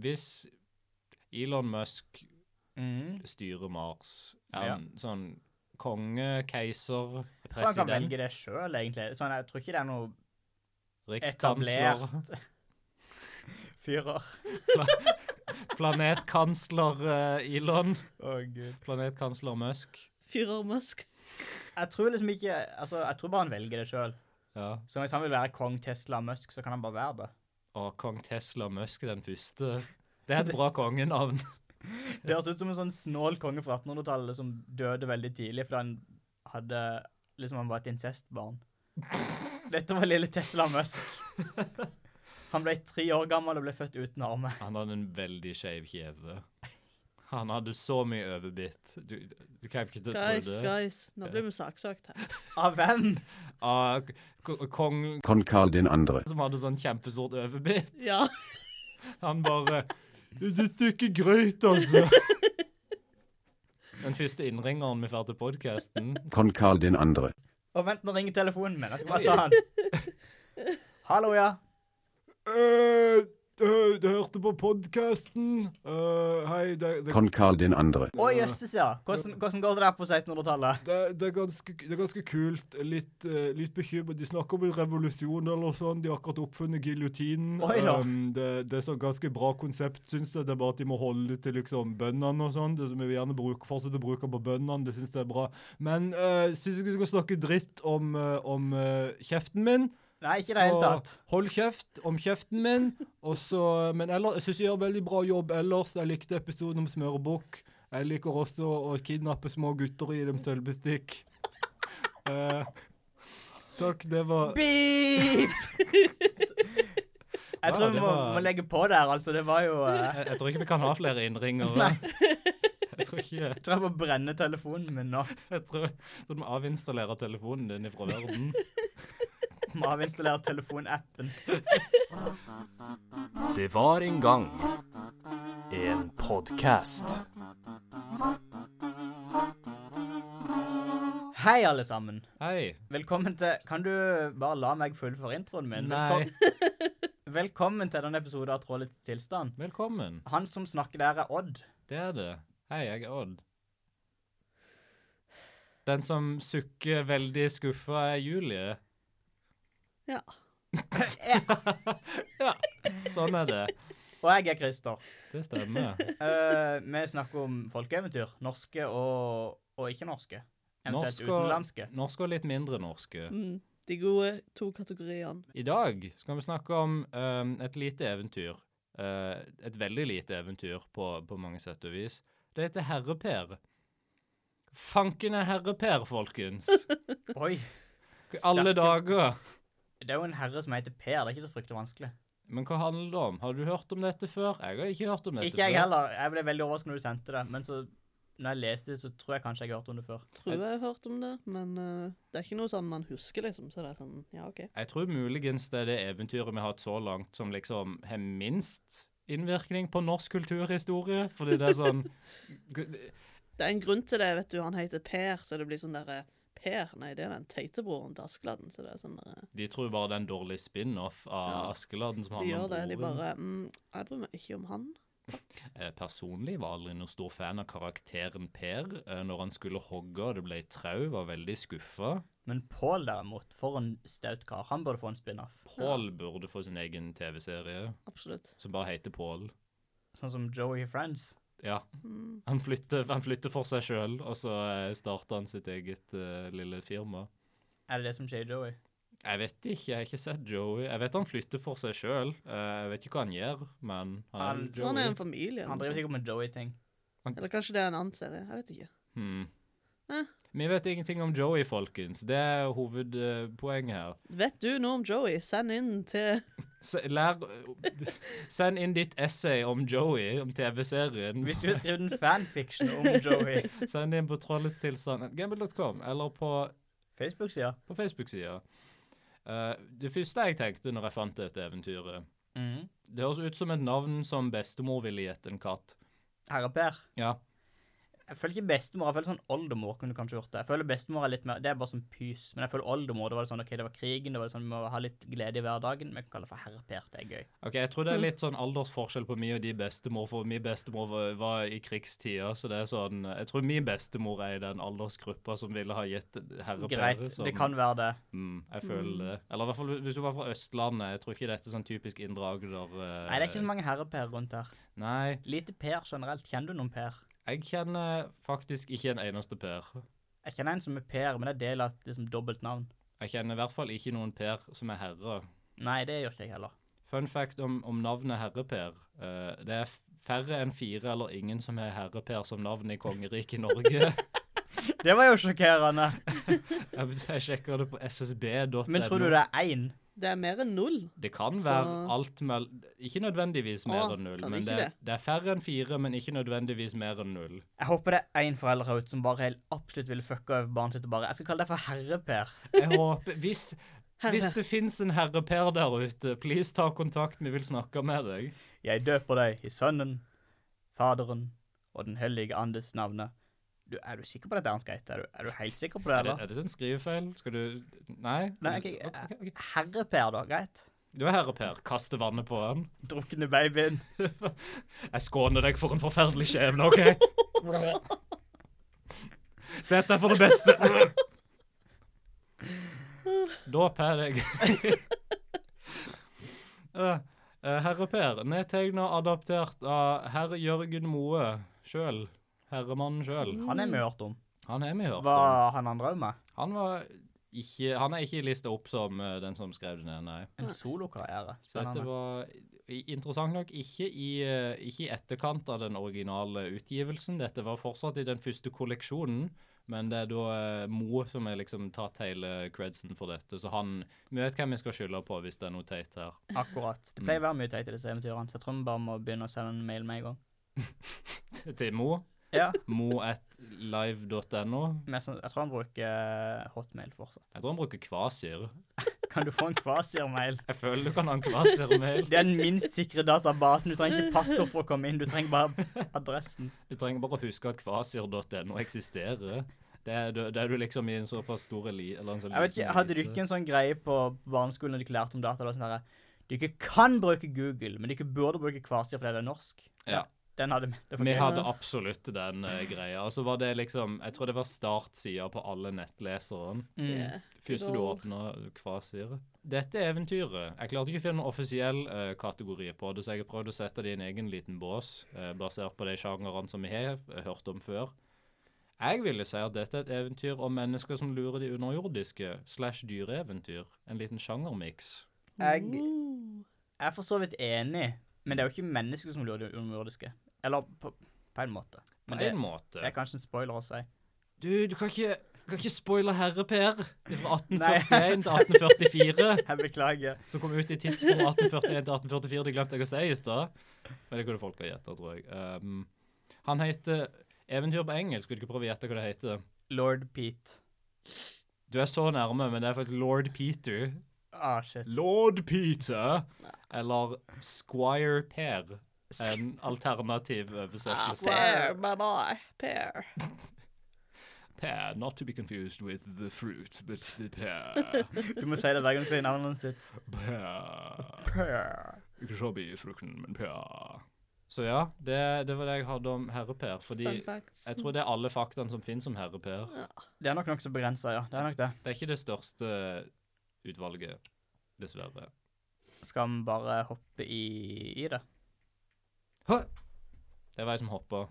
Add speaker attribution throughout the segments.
Speaker 1: Hvis Elon Musk
Speaker 2: Mm.
Speaker 1: styrer Mars,
Speaker 2: Ja.
Speaker 1: en sånn konge, keiser,
Speaker 2: Jeg tror han kan
Speaker 1: president,
Speaker 2: velge det sjøl, egentlig. Sånn, jeg tror ikke det er noe
Speaker 1: rikskansler,
Speaker 2: etablert fyrer.
Speaker 1: planetkansler eh, Elon,
Speaker 2: Å, gud.
Speaker 1: planetkansler Musk.
Speaker 3: Fyrer Musk.
Speaker 2: Jeg tror liksom ikke Altså, jeg tror bare han velger det sjøl.
Speaker 1: Ja.
Speaker 2: Så hvis han vil være kong Tesla Musk, så kan han bare være det.
Speaker 1: Og kong Tesla Musk den første. Det er et bra kongenavn.
Speaker 2: Det høres ut som en sånn snål konge fra 1800-tallet som døde veldig tidlig fordi han hadde Liksom han var et incestbarn. Dette var lille Tesla Musk. Han ble tre år gammel og ble født uten arme.
Speaker 1: Han hadde en veldig skeiv kjeve. Han hadde så mye overbitt. Du, du kan ikke tro
Speaker 3: Guys,
Speaker 1: det.
Speaker 3: guys. Nå blir vi saksøkt her.
Speaker 2: Av hvem?
Speaker 1: Ah, k- Kongen
Speaker 4: Kon Karl den andre.
Speaker 1: som hadde sånn kjempestort overbitt.
Speaker 3: Ja.
Speaker 1: Han bare Dette er ikke greit, altså. Den første innringeren vi får til podkasten.
Speaker 4: Kon Karl den andre.
Speaker 2: Å, vent, nå ringer telefonen min. Jeg skal bare ta han. Hallo, ja.
Speaker 1: Eh, du hørte på podkasten? hei, det,
Speaker 4: Kon Karl den andre.
Speaker 2: Å, jøsses, ja. Hvordan, hvordan går det der på 1600-tallet?
Speaker 1: er ganske, kult. Litt, bekymret. De snakker om en revolusjon eller sånn. De har akkurat oppfunnet giljotinen.
Speaker 2: Oi da.
Speaker 1: det, er sånn ganske bra konsept, syns jeg. Det er bare at de må holde det til liksom bøndene og sånn. Det som vi vil gjerne bruke, fortsette å bruke på bøndene. Det syns jeg er bra. Men uh, syns ikke du skal snakke dritt om, eh, om eh, kjeften min.
Speaker 2: Nei, ikke i det hele tatt.
Speaker 1: Så hold kjeft om kjeften min. Og så, men ellers, jeg syns jeg gjør veldig bra jobb ellers. Jeg likte episoden om smørbukk. Jeg liker også å kidnappe små gutter og gi dem sølvbestikk. Eh, takk, det var
Speaker 2: Beep! Jeg
Speaker 1: Ja,
Speaker 2: tror
Speaker 1: det
Speaker 2: vi må,
Speaker 1: var-
Speaker 2: må legge på der, altså. Det var jo eh,
Speaker 1: jeg, jeg tror ikke vi kan ha flere innringere.
Speaker 2: Nei.
Speaker 1: Jeg tror ikke
Speaker 2: Jeg tror jeg må brenne telefonen min nå.
Speaker 1: Jeg tror, jeg tror du må avinstallere telefonen din ifra verden.
Speaker 2: Må avinstallere telefonappen.
Speaker 5: Det var en gang en podkast.
Speaker 2: Hei, alle sammen.
Speaker 1: Hei.
Speaker 2: Velkommen til Kan du bare la meg fullføre introen min?
Speaker 1: Nei.
Speaker 2: Velkom- Velkommen til denne episoden av Trålets tilstand.
Speaker 1: Velkommen.
Speaker 2: Han som snakker der, er Odd.
Speaker 1: Det er det. Hei, jeg er Odd. Den som sukker veldig skuffa, er Julie.
Speaker 3: ja.
Speaker 1: Ja, sånn er det.
Speaker 2: Og jeg er Christer.
Speaker 1: Det stemmer.
Speaker 2: Eh, vi snakker om folkeeventyr. Norske og, og ikke-norske. Eventuelt
Speaker 1: Norsk
Speaker 2: utenlandske.
Speaker 1: og, norsk og litt mindre norske.
Speaker 3: Mm. De gode to kategoriene.
Speaker 1: I dag skal vi snakke om ehm, et lite eventyr. Eh, et veldig lite eventyr på, på mange sett og vis. Det heter Herreper. Fanken er Herreper, folkens.
Speaker 2: Oi.
Speaker 1: Alle
Speaker 2: Sterke-
Speaker 1: dager.
Speaker 2: Det er jo en herre som heter Per. Det er ikke så fryktelig vanskelig.
Speaker 1: Men hva handler det om? Har du hørt om dette før? Jeg har ikke hørt om dette
Speaker 2: Ikke jeg
Speaker 1: før.
Speaker 2: heller. Jeg ble veldig overrasket når du sendte det. Men så, når jeg leste det, så tror jeg kanskje jeg har hørt om det før.
Speaker 3: Tror jeg har hørt om det, men eh, det er ikke noe sånn man husker, liksom. Så det er sånn, ja, OK.
Speaker 1: Jeg tror muligens det er det eventyret vi har hatt så langt som liksom har minst innvirkning på norsk kulturhistorie. Fordi det er sånn
Speaker 3: Det er en grunn til det, vet du. Han heter Per, så det blir sånn derre Per, nei, det er den teitebroren til Askeladden. Så det er sånn derre
Speaker 1: De tror bare det er en dårlig spin-off av
Speaker 3: Ja.
Speaker 1: Askeladden som
Speaker 3: De
Speaker 1: handler
Speaker 3: gjør
Speaker 1: om
Speaker 3: det. De
Speaker 1: broren.
Speaker 3: bare mm, Jeg bryr meg ikke om han.
Speaker 1: Eh, Personlig var jeg aldri noen stor fan av karakteren Per. Eh, Når han skulle hogge og det ble trau, var veldig skuffa.
Speaker 2: Men Pål derimot, for en staut kar. Han burde få en spin-off.
Speaker 1: Pål burde få sin egen TV-serie
Speaker 3: Absolutt.
Speaker 1: som bare heter Pål.
Speaker 2: Sånn som Joey Friends.
Speaker 1: Ja.
Speaker 3: Mm.
Speaker 1: Han flytter, han flytter for seg sjøl, og så eh, starter han sitt eget eh, lille firma.
Speaker 2: Er det det som skjer i Joey?
Speaker 1: Jeg vet ikke, jeg har ikke sett Joey. Jeg vet han flytter for seg sjøl. Jeg vet ikke hva han gjør, men han er
Speaker 2: Han-
Speaker 1: Joey.
Speaker 3: Han er en familie.
Speaker 2: Han driver
Speaker 3: eller noe sånt.
Speaker 2: sikkert med Joey-ting.
Speaker 1: Han-
Speaker 3: Eller kanskje det er en annen serie. Jeg vet ikke.
Speaker 1: hmm.
Speaker 3: Eh.
Speaker 1: Vi vet ingenting om Joey, folkens. Det er hovedpoenget her.
Speaker 3: Vet du noe om Joey? Send inn til
Speaker 1: Se, lær, send inn ditt essay om Joey, om TV-serien.
Speaker 2: Hvis du har skrevet en fanfiction om Joey
Speaker 1: Send inn på trolletstilstand.gmail.com eller på,
Speaker 2: Facebook-sida
Speaker 1: på Facebook-sida. Eh, det første jeg tenkte når jeg fant dette eventyret
Speaker 2: mm.
Speaker 1: Det høres ut som et navn som bestemor ville gitt en katt.
Speaker 2: Herre Per
Speaker 1: Ja.
Speaker 2: Jeg føler ikke bestemor. Jeg føler sånn oldemor kunne kanskje gjort det. Jeg føler bestemor er litt mer Det er bare sånn pys. Men jeg føler oldemor, det var det sånn OK, det var krigen, det var sånn vi må ha litt glede i hverdagen. Vi kan kalle det for herreper. Det er gøy.
Speaker 1: Ok, Jeg
Speaker 2: Mm.
Speaker 1: tror det er litt sånn aldersforskjell på min og de bestemor, for min bestemor var, var i krigstida. Så det er sånn Jeg tror min bestemor er i den aldersgruppa som ville ha gitt
Speaker 2: Greit.
Speaker 1: herrepære. som-
Speaker 2: Det kan være det.
Speaker 1: Mm, jeg føler det. Eller i hvert fall hvis du var fra Østlandet. Jeg tror ikke dette er sånn typisk Indre Agder. eh,
Speaker 2: Nei, det er ikke så mange herreper rundt her.
Speaker 1: Nei,
Speaker 2: Lite Per generelt. Kjenner du noen Per?
Speaker 1: jeg kjenner faktisk ikke en eneste Per.
Speaker 2: Jeg kjenner en som er Per, men det er del av et liksom, dobbelt navn.
Speaker 1: Jeg kjenner i hvert fall ikke noen Per som er herre.
Speaker 2: Nei, det gjør ikke jeg heller.
Speaker 1: Fun fact om, om navnet Herre-Per. eh, det er f- færre enn fire eller ingen som har Herre-Per som navn i kongeriket Norge.
Speaker 2: Det var jo sjokkerende.
Speaker 1: jeg, jeg sjekker det på ssb.no.
Speaker 2: Men tror du det er én?
Speaker 3: Det er mer enn null.
Speaker 1: Det kan
Speaker 3: Så-
Speaker 1: være alt mell... Ikke nødvendigvis mer
Speaker 3: Å,
Speaker 1: enn null,
Speaker 3: kan
Speaker 1: men
Speaker 3: ikke
Speaker 1: det, er-
Speaker 3: det?
Speaker 1: det er færre enn fire, men ikke nødvendigvis mer enn null.
Speaker 2: Jeg håper det er én forelder her ute som bare helt absolutt ville fucka over barnet sitt og bare Jeg skal kalle deg for herre-Per.
Speaker 1: Jeg håper Hvis,
Speaker 3: Herre.
Speaker 1: hvis det fins en herre-Per der ute, please ta kontakt, vi vil snakke med deg.
Speaker 2: Jeg døper deg i Sønnen, Faderen og Den hellige andes navne. Du, er du sikker på dette, Ernst Geit? Er, du- er du helt sikker på det,
Speaker 1: Er det,
Speaker 2: eller?
Speaker 1: er det en skrivefeil? Skal du Nei?
Speaker 2: Nei, ok,
Speaker 1: Ok, ok.
Speaker 2: Herre-Per, da, greit?
Speaker 1: Du er herre-Per. Kaste vannet på han.
Speaker 2: Drukne babyen.
Speaker 1: Jeg skåner deg for en forferdelig skjebne, OK? Dette er for det beste. Dåp er deg. Eh, eh, Herre Per, nedtegna og adaptert av herr Jørgen Moe sjøl. Herremannen sjøl.
Speaker 2: Han er vi hørt om.
Speaker 1: Han har vi hørt om.
Speaker 2: Var han andre òg med?
Speaker 1: Han, var ikke, han er ikke lista opp som eh, den som skrev det ned, nei.
Speaker 2: En solokarriere.
Speaker 1: Så dette
Speaker 2: Spennende.
Speaker 1: var i- interessant nok ikke i, eh, ikke i etterkant av den originale utgivelsen. Dette var fortsatt i den første kolleksjonen, men det er da eh, Mo som har liksom tatt hele credsen for dette. Så han Vi vet hvem vi skal skylde på hvis det er noe teit her.
Speaker 2: Akkurat.
Speaker 1: Mm.
Speaker 2: Det pleier å være mye teit i disse eventyrene, så jeg tror vi bare må begynne å sende en mail med en gang.
Speaker 1: Til Mo.
Speaker 2: Ja,
Speaker 1: Mo at live.no.
Speaker 2: men jeg, jeg tror han bruker eh, hotmail fortsatt.
Speaker 1: Jeg tror han bruker kvasir.
Speaker 2: Kan du få en kvasir-mail?
Speaker 1: Jeg føler du kan ha en kvasir-mail.
Speaker 2: Det er den minst sikre databasen. Du trenger ikke passord for å komme inn, du trenger bare adressen.
Speaker 1: Du trenger bare å huske at kvasir.no eksisterer. Det er, du- det er du liksom i en såpass stor elite eller en sånn
Speaker 2: Jeg vet ikke,
Speaker 1: liten
Speaker 2: Hadde du
Speaker 1: elite.
Speaker 2: ikke en sånn greie på barneskolen når de lærte om data? Det var sånn der, Dere kan bruke Google, men dere burde bruke kvasir fordi det er norsk.
Speaker 1: Ja.
Speaker 2: Den hadde vi. Det var
Speaker 1: Vi
Speaker 2: gøy.
Speaker 1: hadde absolutt den eh, greia. Og så var det liksom Jeg tror det var startsida på alle nettlesere.
Speaker 2: Mm.
Speaker 3: Yeah.
Speaker 1: Første du åpna kvasir. Dette eventyret Jeg klarte ikke å finne noen offisiell eh, kategori på det, så jeg har prøvd å sette det i en egen liten bås, eh, basert på de sjangerene som vi har eh, hørt om før. Jeg ville si at dette er et eventyr om mennesker som lurer de underjordiske, slash dyreeventyr. En liten sjangermiks.
Speaker 2: Jeg,
Speaker 3: Uh.
Speaker 2: jeg er for så vidt enig, men det er jo ikke mennesker som lurer de underjordiske. Eller på, på en måte.
Speaker 1: På
Speaker 2: Men det,
Speaker 1: en
Speaker 2: det
Speaker 1: måte.
Speaker 2: er kanskje en spoiler å si.
Speaker 1: Du, du kan ikke, du kan ikke spoile Herre-Per fra
Speaker 2: Nei.
Speaker 1: 1841 til 1844.
Speaker 2: Jeg beklager.
Speaker 1: som kom ut i tidsrommet 1841 til 1844. Det glemte jeg å si i stad. Men det kunne folk ha gjetta, tror jeg. Um, han heter Eventyr på engelsk. Vil du ikke prøve å gjette hva det heter?
Speaker 2: Lord Pete.
Speaker 1: Du er så nærme, men det er faktisk lord Peter.
Speaker 2: Ah, shit.
Speaker 1: Lord Peter! Eller Squire Per. En alternativ
Speaker 3: Ah,
Speaker 1: oversettelse.
Speaker 3: pear, my boy. Pear.
Speaker 1: Per, not to be confused with the fruit, but the pear.
Speaker 2: Du må si det hver gang du sier navnet sitt.
Speaker 1: pear.
Speaker 2: Purr.
Speaker 1: Ikke shabby-frukten, men pear. Så ja, det, det var det jeg hadde om herre-Per. Fordi
Speaker 3: Fun facts.
Speaker 1: Jeg tror det er alle faktaene som finnes om Herre Per.
Speaker 2: Det er nok nokså begrensa, ja. Det er nok det.
Speaker 1: Det er ikke det største utvalget, dessverre.
Speaker 2: Skal vi bare hoppe i, i det?
Speaker 1: Hå! Det var jeg som hoppa.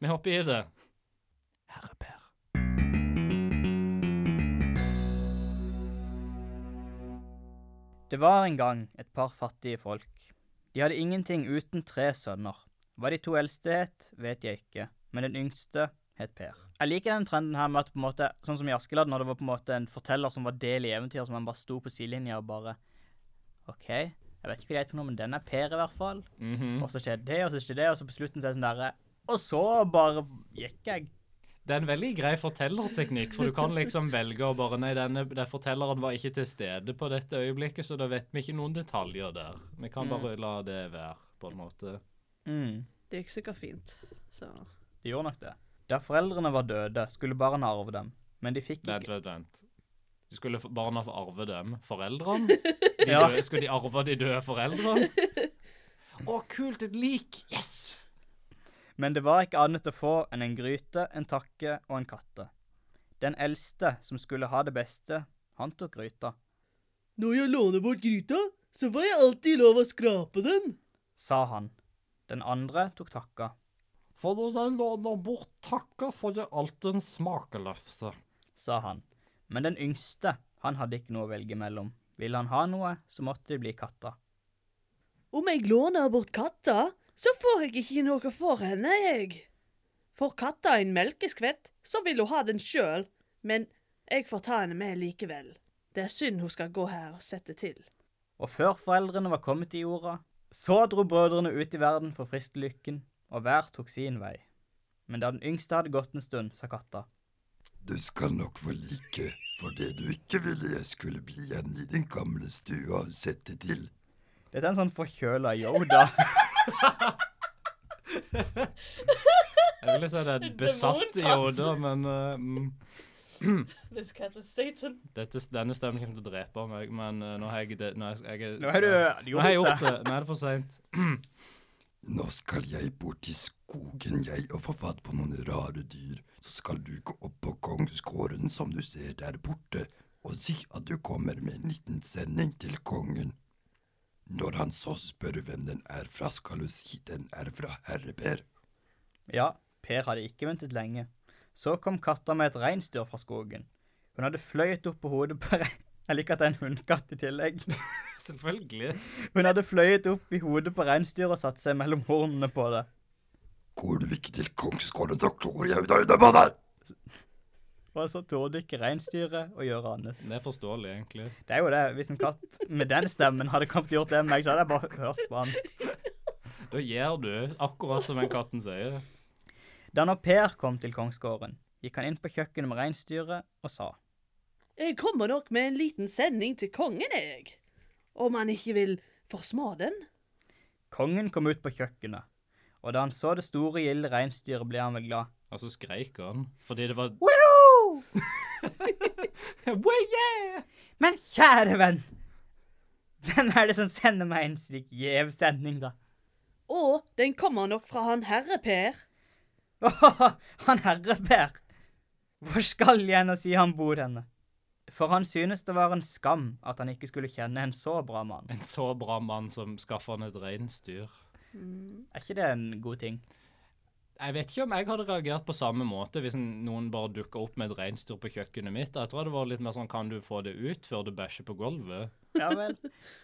Speaker 1: Vi hopper i det. Herre Per.
Speaker 2: Det var en gang et par fattige folk. De hadde ingenting uten tre sønner. Hva de to eldste het, vet jeg ikke, men den yngste het Per. Jeg liker den trenden her med at på en måte, sånn som i Askeladden, når det var på en måte en forteller som var del i eventyret, som han bare sto på sidelinja og bare OK, jeg vet ikke hva det heter for noe, men den er Per i hvert fall.
Speaker 1: Mm. Mhm.
Speaker 2: Og så skjedde det, og så skjedde det, og så på slutten så er det sånn derre Og så bare gikk jeg.
Speaker 1: Det er en veldig grei fortellerteknikk, for du kan liksom velge å bare Nei, denne den fortelleren var ikke til stede på dette øyeblikket, så da vet vi ikke noen detaljer der. Vi kan bare la det være, på en måte.
Speaker 2: Mm.
Speaker 3: Det gikk sikkert fint. Så
Speaker 2: Det gjorde nok det. Der foreldrene var døde, skulle barna arve dem. Men de fikk
Speaker 1: Vent,
Speaker 2: ikke
Speaker 1: vent, vent. De Skulle f- barna få arve dem? Foreldrene? De
Speaker 2: Ja.
Speaker 1: døde, skulle de arve de døde foreldrene? Å, kult! Et lik! Yes!
Speaker 2: Men det var ikke annet å få enn en gryte, en takke og en katte. Den eldste, som skulle ha det beste, han tok gryta.
Speaker 3: Når jeg låner bort gryta, så får jeg alltid lov å skrape den.
Speaker 2: Sa han. Den andre tok takka.
Speaker 6: For når den låner bort takka, får jeg alltid en smakelefse.
Speaker 2: Sa han. Men den yngste, han hadde ikke noe å velge mellom. Ville han ha noe, så måtte det bli katta.
Speaker 3: Om jeg låner bort katta, så får jeg ikke noe for henne, jeg. Får katta en melkeskvett, så vil hun ha den sjøl, men jeg får ta henne med likevel. Det er synd hun skal gå her og sette til.
Speaker 2: Og før foreldrene var kommet i jorda, så dro brødrene ut i verden for fristelykken, og hver tok sin vei. Men da den yngste hadde gått en stund, sa katta.
Speaker 7: Du skal nok få like for det du ikke ville jeg skulle bli igjen i den gamle stua og sette til.
Speaker 2: Dette er en sånn forkjøla Yoda.
Speaker 1: Jeg ville si det er et besatt i
Speaker 3: Demonkatt.
Speaker 1: Yoda, men eh, mm,
Speaker 3: This cat is Satan.
Speaker 1: dette, denne stemmen kommer til å drepe meg. Men eh, nå har jeg det Nå, er jeg,
Speaker 2: Nå har du
Speaker 1: Nå har jeg
Speaker 2: gjort
Speaker 1: gjort
Speaker 2: det.
Speaker 1: det. Nå er det for seint.
Speaker 7: Nå skal jeg bort i skogen, jeg, og få fatt på noen rare dyr. Så skal du gå opp på kongsgården som du ser der borte, og si at du kommer med en liten sending til kongen. Når han så spør hvem den er fra, skal du si den er fra Herreber.
Speaker 2: Ja, Per hadde ikke ventet lenge. Så kom katta med et reinsdyr fra skogen. Hun hadde fløyet opp på hodet på rein... Jeg liker at det er en hundkatt i tillegg.
Speaker 1: Selvfølgelig.
Speaker 2: Hun hadde fløyet opp i hodet på reinsdyret og satt seg mellom hornene på det.
Speaker 7: Går du ikke til kongsgården, så klår jeg ut av øynene på deg!
Speaker 2: Og så torde ikke reinsdyret å gjøre annet.
Speaker 1: Det er forståelig, egentlig.
Speaker 2: Det er jo det, hvis en katt med den stemmen hadde kommet og gjort det med meg, så hadde jeg bare hørt på han.
Speaker 1: Da gjør du akkurat som den katten sier.
Speaker 2: Da når Per kom til kongsgården, gikk han inn på kjøkkenet med reinsdyret og sa.
Speaker 3: Jeg kommer nok med en liten sending til kongen, jeg. Om han ikke vil forsmå den.
Speaker 2: Kongen kom ut på kjøkkenet, og da han så det store, gilde reinsdyret, ble han vel glad.
Speaker 1: Og så skreik han fordi det var
Speaker 2: Men kjære venn, hvem er det som sender meg en slik gjev sending, da?
Speaker 3: Og den kommer nok fra han herre Per.
Speaker 2: Åhåhå, han herre Per! Hvor skal jeg hen og si han bor henne? For han synes det var en skam at han ikke skulle kjenne en så bra mann.
Speaker 1: en så bra mann som skaffa han et reinsdyr.
Speaker 2: Er ikke det en god ting?
Speaker 1: Jeg vet ikke om jeg hadde reagert på samme måte hvis en- noen bare dukka opp med et reinsdyr på kjøkkenet mitt. Jeg tror det var litt mer sånn Kan du få det ut før du bæsjer på gulvet?
Speaker 2: Ja vel.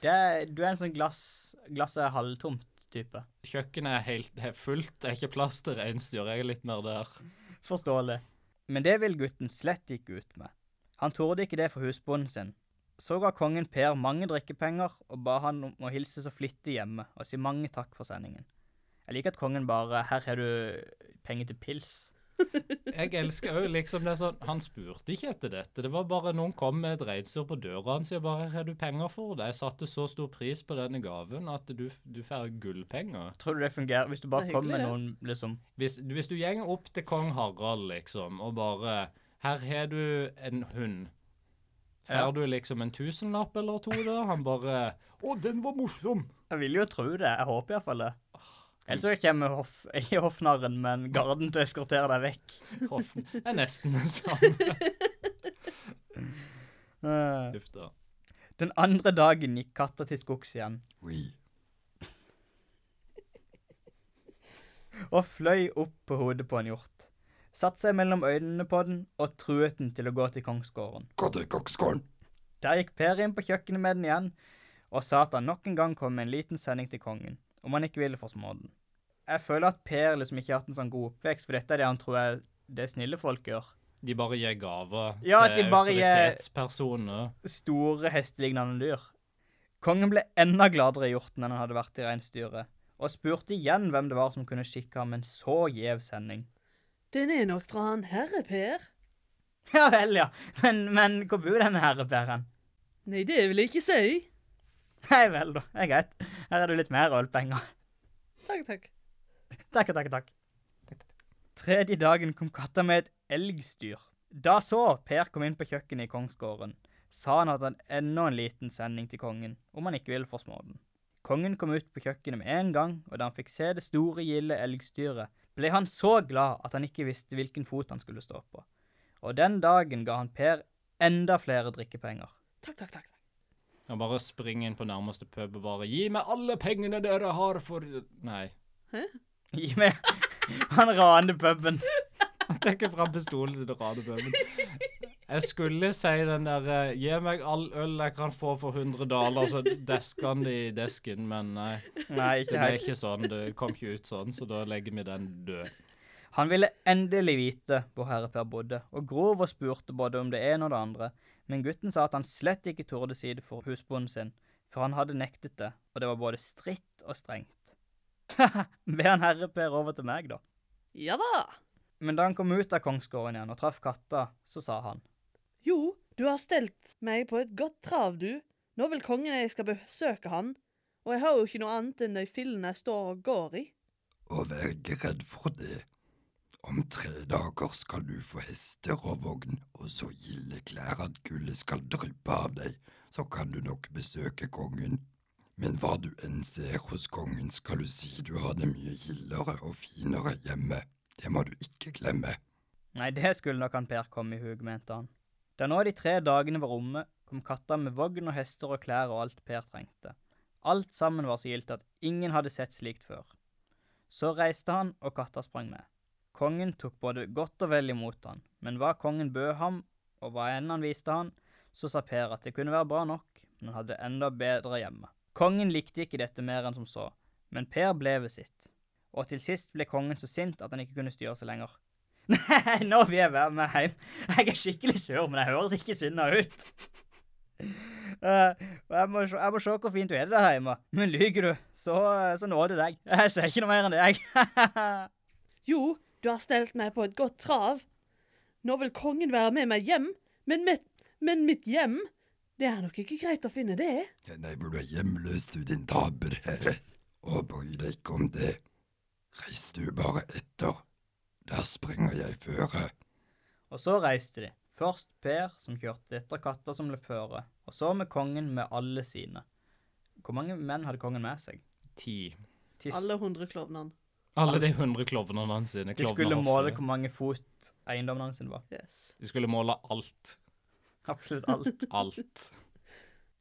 Speaker 2: Det, er- du er en sånn glass, glasset er halvtomt-type.
Speaker 1: Kjøkkenet er helt er fullt, det er ikke plass til reinsdyr. Jeg er litt mer der.
Speaker 2: Forståelig. Men det ville gutten slett ikke ut med. Han torde ikke det for husbonden sin. Så ga kongen Per mange drikkepenger og ba han om å hilse så flittig hjemme og si mange takk for sendingen. Jeg liker at kongen bare 'Her har du penger til pils'.
Speaker 1: Jeg elsker òg liksom det er sånn Han spurte ikke etter dette. Det var bare noen kom med et reinsdyr på døra hans og bare 'Her har du penger for det.' Jeg satte så stor pris på denne gaven at du, du får gullpenger.
Speaker 2: Tror du det fungerer hvis du bare
Speaker 3: Det er
Speaker 2: kommer med
Speaker 3: hyggelig,
Speaker 2: noen liksom
Speaker 1: Hvis, du- hvis du gjenger opp til kong Harald, liksom, og bare Her har du en hund. Får
Speaker 2: Ja.
Speaker 1: du liksom en tusenlapp eller to, da? Han bare
Speaker 6: Å, den var morsom!
Speaker 2: Jeg vil jo tro det. Jeg håper iallfall det. Ellers så kommer hoff, ikke hoffnarren, men garden til å eskortere deg vekk.
Speaker 1: Hoffen er nesten det samme.
Speaker 2: Eh,
Speaker 1: Uff da.
Speaker 2: Den andre dagen gikk katta til skogs igjen.
Speaker 7: Oui.
Speaker 2: og fløy opp på hodet på en hjort. Satt seg mellom øynene på den og truet den til å gå til kongsgården.
Speaker 7: Gå til kongsgården!
Speaker 2: Der gikk Per inn på kjøkkenet med den igjen og sa at han nok en gang kom med en liten sending til kongen, om han ikke ville forsmå den. Jeg føler at Per liksom ikke har hatt en sånn god oppvekst, for dette er det han tror er det snille folk gjør.
Speaker 1: De bare gir gaver
Speaker 2: Ja,
Speaker 1: til
Speaker 2: de bare gir-
Speaker 1: autoritetspersoner.
Speaker 2: Store hestelignende dyr. Kongen ble enda gladere i hjorten enn han hadde vært i reinsdyret, og spurte igjen hvem det var som kunne skikke ham en så gjev sending.
Speaker 3: Den er nok fra han herre Per.
Speaker 2: Ja vel, ja, men, men hvor bor denne herre Per hen?
Speaker 3: Nei, det vil jeg ikke si.
Speaker 2: Nei vel, da. Det er greit. Her er det litt mer ølpenger.
Speaker 3: Takk, takk.
Speaker 2: Takk, takk, takk. Tredje dagen kom katta med et elgstyr. Da så Per kom inn på kjøkkenet i kongsgården, sa han at han hadde enda en liten sending til kongen, om han ikke ville forsmå den. Kongen kom ut på kjøkkenet med en gang, og da han fikk se det store, gilde elgstyret, ble han så glad at han ikke visste hvilken fot han skulle stå på. Og den dagen ga han Per enda flere drikkepenger.
Speaker 3: Takk, takk, takk.
Speaker 1: Han bare springer inn på nærmeste pub og bare 'Gi meg alle pengene dere har for Nei.
Speaker 2: Gi meg Han raner puben.
Speaker 1: Han trekker fram pistolen sin og raner puben. Jeg skulle si den derre 'Gi meg all øl jeg kan få for 100 daler', så desker han det i desken, men nei.
Speaker 2: Nei,
Speaker 1: Det
Speaker 2: ikke
Speaker 1: ble
Speaker 2: helt.
Speaker 1: ikke sånn. Det kom ikke ut sånn, så da legger vi den død.
Speaker 2: Han ville endelig vite hvor herre Per bodde, og grov og spurte både om det ene og det andre, men gutten sa at han slett ikke torde si det for husbonden sin, for han hadde nektet det, og det var både stritt og strengt. Be han herre Per over til meg, da.
Speaker 3: Ja da.
Speaker 2: Men da han kom ut av kongsgården igjen og traff katta, så sa han.
Speaker 3: Jo, du har stelt meg på et godt trav, du. Nå vil kongen jeg skal besøke han, og jeg har jo ikke noe annet enn de fillene jeg står og går i.
Speaker 7: og vær ikke redd for det. Om tre dager skal du få hester og vogn, og så gilde klær at gullet skal dryppe av deg, så kan du nok besøke kongen. Men hva du enn ser hos kongen, skal du si du har det mye gildere og finere hjemme. Det må du ikke glemme.
Speaker 2: Nei, det skulle nok han Per komme i hug, mente han. Da nå de tre dagene var omme, kom katta med vogn og hester og klær og alt Per trengte. Alt sammen var så gildt at ingen hadde sett slikt før. Så reiste han, og katta sprang med. Kongen tok både godt og vel imot han, men hva kongen bød ham, og hva enn han viste han, så sa Per at det kunne være bra nok, men han hadde enda bedre hjemme. Kongen likte ikke dette mer enn som så, men Per ble ved sitt. Og til sist ble kongen så sint at han ikke kunne styre seg lenger. Nei, nå vil jeg være med hjem. Jeg er skikkelig sur, men jeg høres ikke sinna ut. Eh, og jeg, må se, jeg må se hvor fint du er det der hjemme. Men lyver du, så, så nåde deg. Jeg ser ikke noe mer enn deg.
Speaker 3: Jo, du har stelt meg på et godt trav. Nå vil kongen være med meg hjem, men mitt, men mitt hjem Det er nok ikke greit å finne det.
Speaker 7: Ja, Nei, hvor du er hjemløs, du din taper. Og bry deg ikke om det. Reis du bare etter. Der springer jeg føre.
Speaker 2: og så reiste de. Først Per, som kjørte etter katta som løp føre, og så med kongen med alle sine. Hvor mange menn hadde kongen med seg?
Speaker 1: Ti.
Speaker 2: Ti-
Speaker 3: Alle hundre klovnene.
Speaker 1: Alle de 100 klovnene hans sine.
Speaker 2: De skulle måle
Speaker 1: klovnehoffer.
Speaker 2: hvor mange fot eiendommen hans sin var.
Speaker 3: Yes.
Speaker 1: De skulle måle alt.
Speaker 2: Absolutt alt.
Speaker 1: Alt.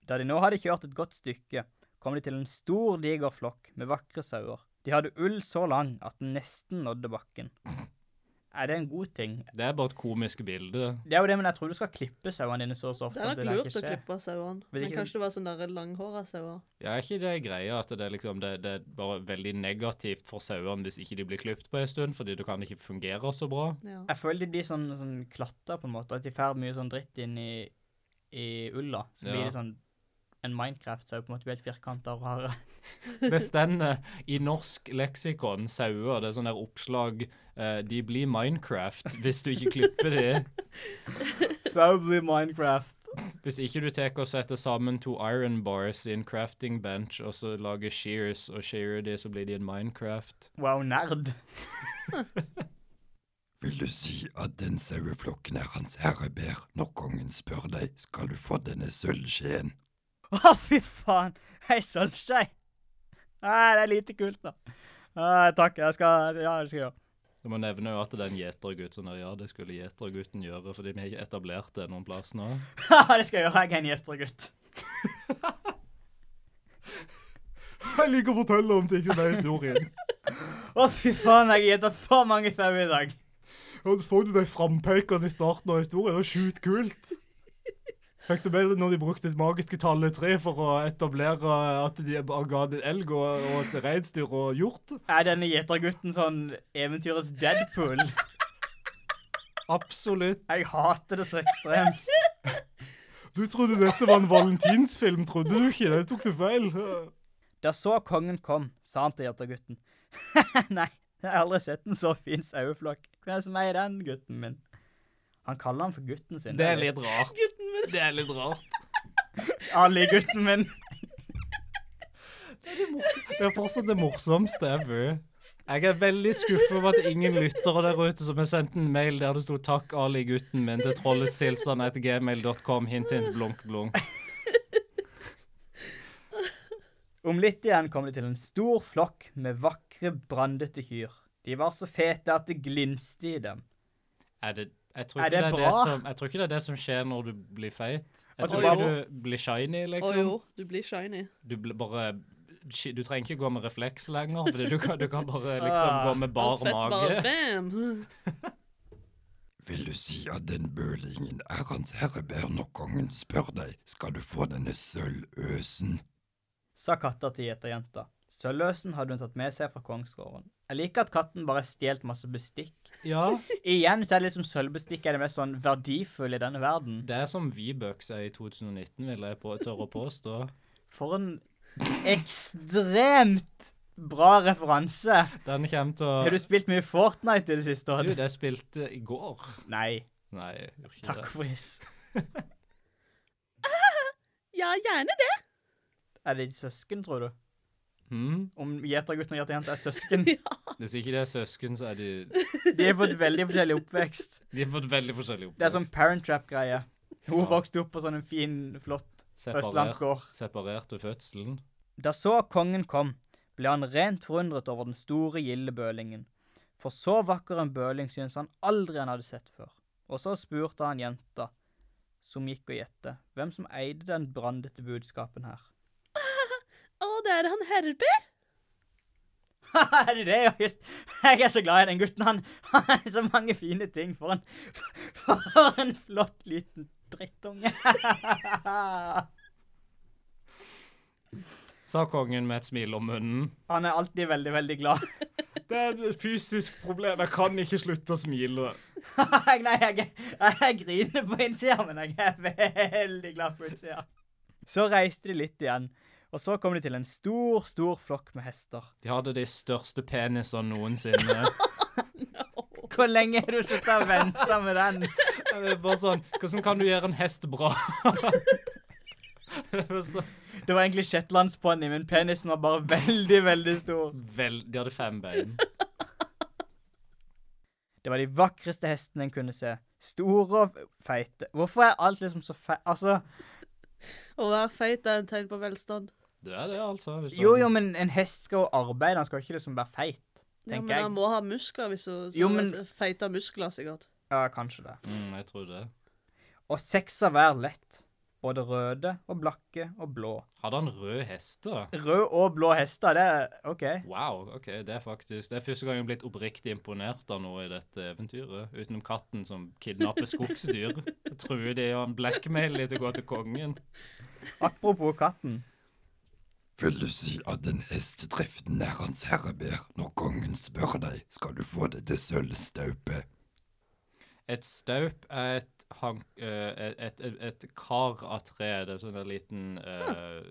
Speaker 2: Da de nå hadde kjørt et godt stykke, kom de til en stor, diger flokk med vakre sauer. De hadde ull så lang at den nesten nådde bakken. Er det en god ting?
Speaker 1: Det er bare et komisk bilde.
Speaker 2: Det er jo det, men jeg tror du skal klippe sauene dine så og så ofte.
Speaker 3: Det
Speaker 2: sånn
Speaker 3: er
Speaker 2: at der
Speaker 3: nok lurt
Speaker 2: ikke
Speaker 3: å
Speaker 2: skjer.
Speaker 3: klippe sauene.
Speaker 2: Vil
Speaker 3: Men
Speaker 2: ikke-
Speaker 3: kanskje det var sånne der langhåra sauer.
Speaker 1: Ja, er ikke det greia at det er, liksom, det, det er bare veldig negativt for sauene hvis ikke de blir klippet på en stund, fordi det kan ikke fungere så bra?
Speaker 3: Ja.
Speaker 2: Jeg føler de blir sånn, sånn klatter, på en måte. At de får mye sånn dritt inn i, i ulla.
Speaker 1: Ja.
Speaker 2: Så blir de sånn en Minecraft-sau, på en måte. Blir helt firkanta og rare.
Speaker 1: Det stender i norsk leksikon sauer, det er sånn der oppslag eh, De blir Minecraft hvis du ikke klipper de.
Speaker 2: Sau blir Minecraft.
Speaker 1: Hvis ikke du tar og setter sammen to iron bars i en crafting bench, og så lager shears og shearer de, så blir de en Minecraft.
Speaker 2: Wow, nerd.
Speaker 7: Vil du si at den saueflokken er hans herrebær? Når kongen spør deg, skal du få denne sølvskjeen.
Speaker 2: Å, fy faen! Hei, Solskjei! Nei, det er lite kult, da. Nei, takk. Jeg skal Ja, det skal jeg gjøre.
Speaker 1: Jeg må nevne jo at det er en gjetergutten der. Ja, det skulle gjetergutten gjøre, fordi vi har ikke etablert det noen plass nå.
Speaker 2: Haha, det skal jeg gjøre. Jeg er en gjetergutt.
Speaker 6: Jeg liker å fortelle om ting som er historien.
Speaker 2: Å, fy faen, jeg gjeta for mange sauer i dag.
Speaker 6: Og så du de frampekene i starten av historien? Det var sjukt kult. Fikk du med deg når de brukte det magiske tallet tre for å etablere at de bare ga det en elg og, og et reinsdyr og hjort?
Speaker 2: Er denne gjetergutten sånn eventyrets Deadpool?
Speaker 6: Absolutt.
Speaker 2: Jeg hater det så ekstremt.
Speaker 6: Du trodde dette var en valentinsfilm, trodde du ikke? Det tok du feil.
Speaker 2: Da så kongen kom, sa han til gjetergutten. Nei, jeg har aldri sett en så fin saueflokk. Hvem er det som eier den, gutten min? Han kaller han for gutten sin.
Speaker 1: Det er litt rart.
Speaker 3: Gutten min!
Speaker 1: Det er litt rart.
Speaker 2: Ali, gutten min.
Speaker 1: Det er fortsatt det morsomste ever. Jeg er veldig skuffet over at ingen lyttere der ute som har sendt en mail der det sto 'Takk, Ali, gutten min' til trollets hilsen etter gmail.com. Hint, hint, blunk, blunk.
Speaker 2: Om litt igjen kom det til en stor flokk med vakre, brandete kyr. De var så fete at det glinste i dem.
Speaker 1: Er det jeg tror,
Speaker 2: Er
Speaker 1: ikke det
Speaker 2: det
Speaker 1: er det
Speaker 2: bra?
Speaker 1: som, jeg tror ikke det er det som skjer når du blir feit. Jeg
Speaker 2: At
Speaker 1: tror
Speaker 2: du
Speaker 1: bare
Speaker 2: bare-
Speaker 1: du blir shiny,
Speaker 3: Å
Speaker 1: liksom.
Speaker 3: jo, du blir shiny.
Speaker 1: Du blir bare Du trenger ikke gå med refleks lenger, for du kan, du kan bare liksom gå med bar
Speaker 3: Alt fett, Bare
Speaker 1: mage.
Speaker 3: bam!
Speaker 7: Vil du si at den bølingen er hans herrebær når kongen spør deg skal du få denne sølvøsen?
Speaker 2: sa katta til gjeterjenta. Sølvløsen hadde hun tatt med seg fra kongsgården. Jeg liker at katten bare har stjålet masse bestikk.
Speaker 1: Ja,
Speaker 2: Igjen så er det liksom sølvbestikk er det mest sånn verdifulle i denne verden.
Speaker 1: det er som V-bucks er i 2019, vil jeg på, tørre å påstå.
Speaker 2: For en ekstremt bra referanse.
Speaker 1: Den kommer
Speaker 2: Har
Speaker 1: til
Speaker 2: du spilt mye Fortnite i det siste?
Speaker 1: å Du,
Speaker 2: Odd?
Speaker 1: det spilte i går.
Speaker 2: Nei.
Speaker 1: Nei, jeg gjorde ikke
Speaker 2: Takk
Speaker 1: det.
Speaker 2: for is.
Speaker 3: Ja, gjerne det.
Speaker 2: Er de søsken, tror du?
Speaker 1: Hmm?
Speaker 2: Om gjetergutten og gjeterjenta er søsken?
Speaker 1: Hvis ikke det er søsken, så er de
Speaker 2: De har fått veldig forskjellig oppvekst.
Speaker 1: De har fått veldig forskjellig
Speaker 2: Det er sånn
Speaker 1: oppvekst.
Speaker 2: parent trap-greie. Hun
Speaker 1: Ja.
Speaker 2: vokste opp på sånn en fin, flott
Speaker 1: Separert,
Speaker 2: østlandsgård.
Speaker 1: separert ved fødselen.
Speaker 2: Da så kongen kom, ble han rent forundret over den store gilde bølingen. For så vakker en bøling syntes han aldri han hadde sett før. Og så spurte han jenta, som gikk og gjette, hvem som eide den brandete budskapen her.
Speaker 3: Å, det er han Herbert.
Speaker 2: Haha, er det det, ja, just. Jeg er så glad i den gutten. Han Han har så mange fine ting. For en, for en flott liten drittunge.
Speaker 1: Sa kongen med et smil om munnen.
Speaker 2: Han er alltid veldig, veldig glad.
Speaker 1: Det er et fysisk problem. Jeg kan ikke slutte å smile.
Speaker 2: Jeg- Nei, jeg, jeg, jeg griner på innsida, men jeg er veldig glad på utsida. Så reiste de litt igjen, og så kom de til en stor, stor flokk med hester.
Speaker 1: De hadde de største penisene noensinne.
Speaker 2: Hvor lenge har du sittet og venta med den?
Speaker 1: Det er Bare sånn Hvordan kan du gjøre en hest bra? Det var så-
Speaker 2: Det var egentlig shetlandsponni, men penisen var bare veldig, veldig stor.
Speaker 1: Vel, de hadde fem bein.
Speaker 2: Det var de vakreste hestene en kunne se. Store og feite. Hvorfor er alt liksom så feit? Altså,
Speaker 3: Å være feit er en tegn på velstand.
Speaker 1: Det er det, altså. Hvis du-
Speaker 2: jo, jo, men en hest skal jo arbeide, han skal ikke liksom være feit.
Speaker 3: Ja, men
Speaker 2: Tenker jeg.
Speaker 3: han må ha muskler hvis hun
Speaker 2: Jo, men-
Speaker 3: feite muskler, sikkert.
Speaker 2: Ja, kanskje det.
Speaker 1: Mm, jeg tror det.
Speaker 2: Og seks av hver lett. Både røde og blakke og blå.
Speaker 1: Hadde han rød hest, da?
Speaker 2: Rød og blå hester, det er OK.
Speaker 1: Wow, ok, det er faktisk Det er første gang jeg har blitt oppriktig imponert av noe i dette eventyret. Utenom katten som kidnapper skogsdyr. Truer de og blackmailer de til å gå til kongen.
Speaker 2: Apropos katten.
Speaker 7: Vil du si at den hestetreften er hans herrebær når kongen spør deg skal du få dette sølvstaupet?
Speaker 1: Et staup er et, hank, eh, et, et, et, et kar av tre. Det er sånn en liten eh,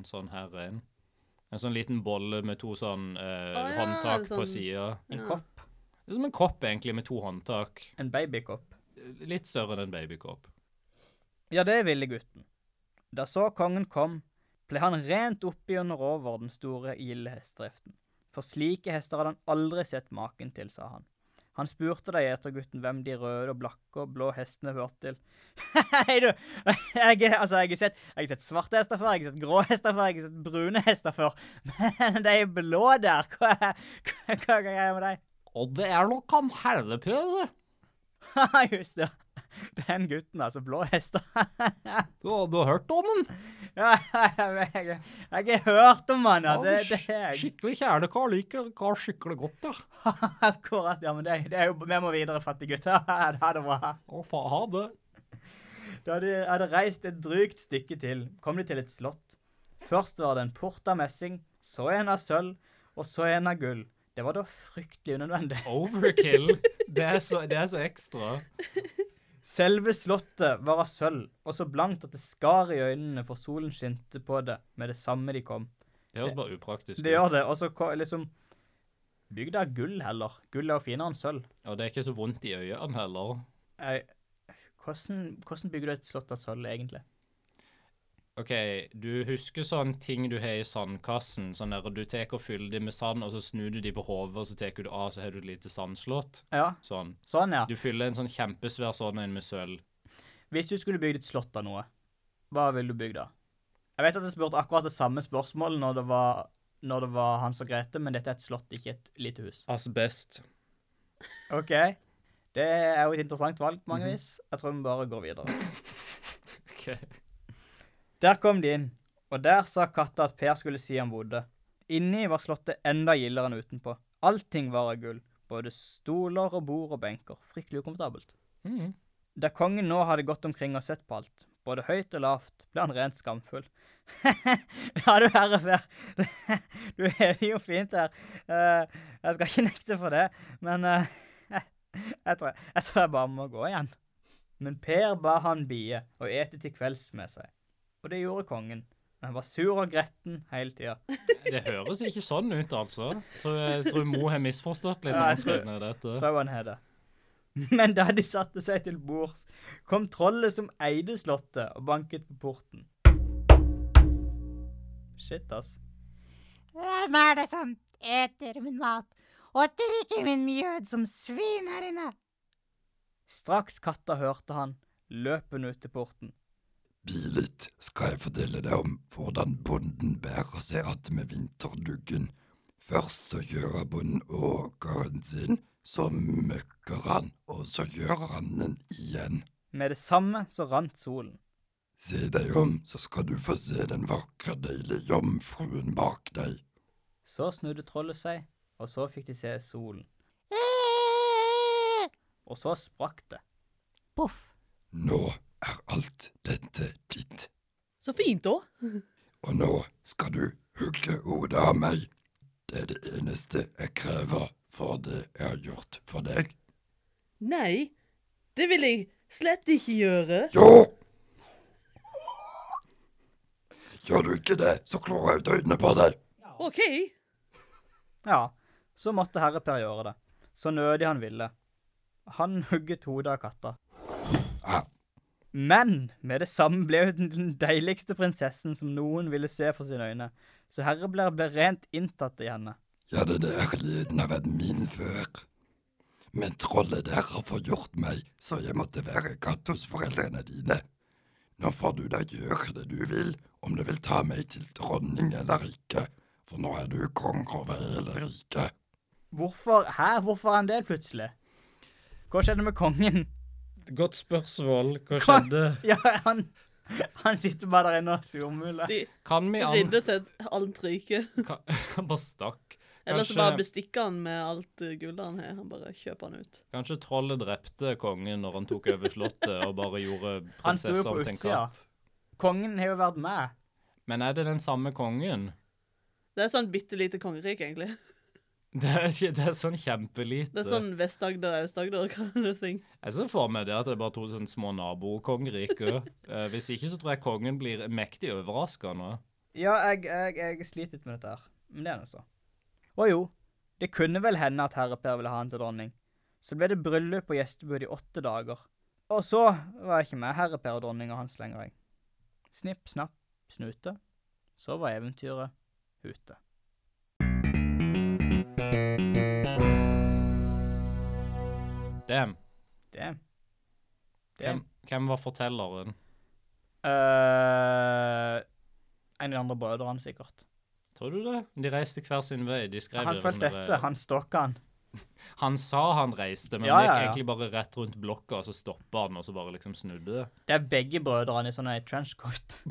Speaker 1: En sånn her en. En sånn liten bolle med to sånn eh,
Speaker 3: Å ja,
Speaker 1: håndtak på
Speaker 3: sånn-
Speaker 1: sida.
Speaker 2: En
Speaker 3: Ja.
Speaker 2: kopp.
Speaker 1: Det er som en kopp, egentlig, med to håndtak.
Speaker 2: En babykopp.
Speaker 1: Litt større enn en babykopp.
Speaker 2: Ja, det ville gutten. Da så kongen kom, ble han rent oppi under over den store gilde hestedriften. For slike hester hadde han aldri sett maken til, sa han. Han spurte da gjetergutten hvem de røde og blakke og blå hestene hørte til. Hei, du! Jeg, altså, jeg, har sett, jeg har sett svarte hester før, jeg har sett grå hester før, jeg har sett brune hester før. Men de blå der, hva hva- hva er greia med deg?
Speaker 1: Og det er nok han herlepede.
Speaker 2: Haha, Just det. Den gutten, altså. Blå hester.
Speaker 1: Du, du har hørt om han?
Speaker 2: Ja, jeg, jeg, jeg har hørt om han, ja. Det, det er jeg.
Speaker 1: Skikkelig kjælekar. Liker kar skikkelig godt, ja.
Speaker 2: Akkurat. Ja, men det, det er jo Vi må videre, fattig gutt. Ha det bra.
Speaker 1: Å, faen, ha det.
Speaker 2: Da de hadde reist et drygt stykke til, kom de til et slott. Først var det en port av messing, så en av sølv, og så en av gull. Det var da fryktelig unødvendig.
Speaker 1: Overkill. Det er så, det er så ekstra.
Speaker 2: Selve slottet var av sølv, og så blankt at det skar i øynene, for solen skinte på det med det samme de kom.
Speaker 1: Det høres bare upraktisk ut.
Speaker 2: Det gjør det, og så ko- liksom Bygg da gull, heller. Gull er jo finere enn sølv.
Speaker 1: Og det er ikke så vondt i øynene heller.
Speaker 2: Jeg- Hvordan, hvordan bygger du et slott av sølv, egentlig?
Speaker 1: OK, du husker sånn ting du har i sandkassen. Sånn der du tar og fyller de med sand, og så snur du de på hodet, og så tar du det av, så har du et lite sandslott.
Speaker 2: Ja,
Speaker 1: Sånn.
Speaker 2: sånn ja.
Speaker 1: Du fyller en sånn kjempesvær sånn en med sølv.
Speaker 2: Hvis du skulle bygd et slott av noe, hva ville du bygd da? Jeg vet at jeg spurte akkurat det samme spørsmålet når det var, når det var Hans og Grete, men dette er et slott, ikke et lite hus.
Speaker 1: Asbest.
Speaker 2: Ok, det er jo et interessant valg på mange vis. Jeg tror vi bare går videre.
Speaker 1: OK.
Speaker 2: Der kom de inn, og der sa katta at Per skulle si han bodde. Inni var slottet enda gildere enn utenpå. Allting var av gull. Både stoler og bord og benker. Fryktelig ukomfortabelt.
Speaker 1: Mm.
Speaker 2: Da kongen nå hadde gått omkring og sett på alt, både høyt og lavt, ble han rent skamfull. ja, du herre Per, du er det jo fint her. Eh, jeg skal ikke nekte for det, men eh, jeg, tror, jeg tror jeg bare må gå igjen. Men Per ba han bie og ete til kvelds med seg, og det gjorde kongen. Men han var sur og gretten hele tida.
Speaker 1: Det høres ikke sånn ut, altså. Så jeg tror Mo har misforstått litt.
Speaker 2: Ja,
Speaker 1: når han
Speaker 2: jeg
Speaker 1: skrev
Speaker 2: tror-
Speaker 1: ned dette.
Speaker 2: tror jeg han heter. Men da de satte seg til bords, kom trollet som eide slottet, og banket på porten. Shit, ass.
Speaker 8: Hvem er det som eter min mat og drikker min mjød som svin her inne?
Speaker 2: Straks katta hørte han, løp hun ut til porten.
Speaker 7: Bilit skal jeg fortelle deg om hvordan bonden bærer seg att med vinterduggen. Først så gjør bonden åkeren sin, så møkker han, og så gjør han den igjen.
Speaker 2: Med det samme så rant solen.
Speaker 7: Se deg om, så skal du få se den vakre, deilige jomfruen bak deg.
Speaker 2: Så snudde trollet seg, og så fikk de se solen.
Speaker 8: Eh!
Speaker 2: Og så sprakk det.
Speaker 8: Poff.
Speaker 7: Nå er alt dette ditt,
Speaker 3: Så fint, da.
Speaker 7: og nå skal du hugge hodet av meg. Det er det eneste jeg krever for det jeg har gjort for deg.
Speaker 3: Nei, det vil jeg slett ikke gjøre.
Speaker 7: Jo! Gjør du ikke det, så klår jeg ut øynene på deg.
Speaker 3: OK.
Speaker 2: Ja, så måtte herre Per gjøre det. Så nødig han ville. Han hugget hodet av katta.
Speaker 7: Ah.
Speaker 2: Men med det samme ble hun den deiligste prinsessen som noen ville se for sine øyne, så herre Blair ble rent inntatt i henne.
Speaker 7: Ja, den der lyden har vært min før. Men trollet der har forgjort meg, så jeg måtte være katt hos foreldrene dine. Nå får du da gjøre det du vil, om du vil ta meg til dronning eller ikke, for nå er du konge over hele riket.
Speaker 2: Hvorfor Hæ? Hvorfor er han det plutselig? Hva skjedde med kongen?
Speaker 1: Godt spørsmål. Hva
Speaker 2: Hva?
Speaker 1: skjedde?
Speaker 2: Ja, han, han sitter bare der inne og surmuler.
Speaker 3: De
Speaker 1: Kan vi an...
Speaker 3: ridder til et annet rike.
Speaker 1: Ka- Han bare stakk.
Speaker 3: Eller
Speaker 1: Kanskje-
Speaker 3: så bare bestikker han med alt eh, gullet han har. Han bare kjøper han ut.
Speaker 1: Kanskje trollet drepte kongen når han tok over slottet og bare gjorde
Speaker 2: Han sto jo
Speaker 1: prinsessa
Speaker 2: på
Speaker 1: om til en
Speaker 2: utsida.
Speaker 1: katt.
Speaker 2: Kongen har jo vært med.
Speaker 1: Men er det den samme kongen?
Speaker 3: Det er sånn bitte lite kongerike, egentlig.
Speaker 1: Det er, ikke- det er sånn kjempelite.
Speaker 3: Det er sånn Vest-Agder, Aust-Agder kind of thing.
Speaker 1: Jeg ser for meg det at det er bare to sånne små nabokongeriker. Eh, hvis ikke så tror jeg kongen blir mektig overraska nå.
Speaker 2: Ja, jeg, jeg, jeg sliter litt med dette her. Men det er nå så. Å jo, det kunne vel hende at herre Per ville ha han til dronning. Så ble det bryllup og gjestebud i åtte dager. Og så var jeg ikke med herre Per og dronninga hans lenger, jeg. Snipp, snapp, snute. Så var eventyret ute.
Speaker 1: Damn.
Speaker 2: Det Det
Speaker 1: Hvem, hvem var fortelleren?
Speaker 2: Eh, En av de andre brødrene, sikkert.
Speaker 1: Tror du det? De reiste hver sin vei. De skrev
Speaker 2: Han
Speaker 1: det
Speaker 2: fulgte
Speaker 1: sånn der-
Speaker 2: etter. Han stokka han.
Speaker 1: Han sa han reiste, men
Speaker 2: Ja,
Speaker 1: han gikk
Speaker 2: ja, ja.
Speaker 1: egentlig bare rett rundt blokka, og så stoppa han, og så bare liksom snudde det.
Speaker 2: Det er begge brødrene i sånne trenchcoat.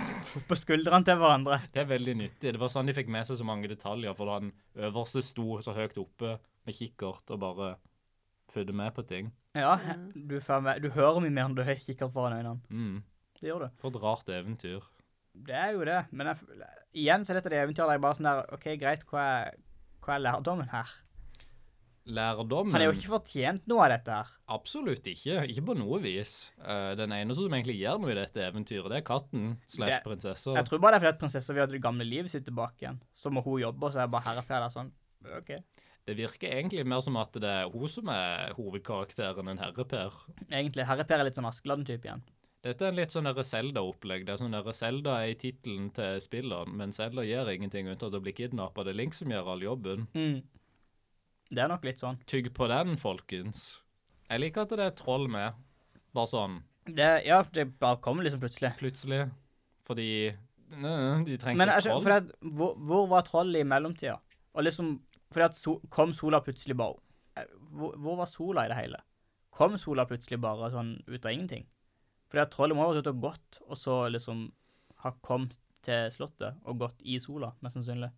Speaker 2: På skuldrene til hverandre.
Speaker 1: Det er veldig nyttig. Det var sånn de fikk med seg så mange detaljer, for han øverste sto så høyt oppe med kikkert og bare fødde med på ting.
Speaker 2: Ja, du, får med, du hører mye mer enn du har kikkert foran øynene.
Speaker 1: Mm.
Speaker 2: Det gjør du.
Speaker 1: For et rart eventyr.
Speaker 2: Det er jo det, men jeg, f- igjen så er dette det eventyret der jeg bare sånn der OK, greit, hva er, hva er lærdommen her?
Speaker 1: Lærdommen
Speaker 2: Han har jo ikke fortjent noe av dette her.
Speaker 1: Absolutt ikke. Ikke på noe vis. Eh, den eneste som egentlig gjør noe i dette eventyret, det er katten slash
Speaker 2: Det-
Speaker 1: prinsessa.
Speaker 2: Jeg tror bare det er fordi at prinsessa vil ha det gamle livet sitt tilbake igjen. Så må hun jobbe, og så er jeg bare herrefer der sånn. OK.
Speaker 1: Det virker egentlig mer som at det er hun som er hovedkarakteren enn herre Per.
Speaker 2: Egentlig herreper er litt sånn Askeladden-type igjen.
Speaker 1: Dette er en litt sånn derre Zelda-opplegg. Det er sånn derre Zelda er i tittelen til spilleren, men Zelda gjør ingenting unntatt å bli kidnappa. Det er Link som gjør all jobben.
Speaker 2: Mm. Det er nok litt sånn.
Speaker 1: Tygg på den, folkens. Jeg liker at det er troll med. Bare sånn
Speaker 2: Det, ja, det bare kommer liksom plutselig.
Speaker 1: plutselig. Fordi Nø, de trenger
Speaker 2: Men
Speaker 1: ikke
Speaker 2: altså,
Speaker 1: troll.
Speaker 2: fordi at, hvor, hvor var trollet i mellomtida? Og liksom, fordi at so, kom sola plutselig bare eh, hvor, hvor var sola i det hele? Kom sola plutselig bare sånn ut av ingenting? Fordi at trollet må ha vært ute og gått, og så liksom har kommet til slottet og gått i sola, mest sannsynlig.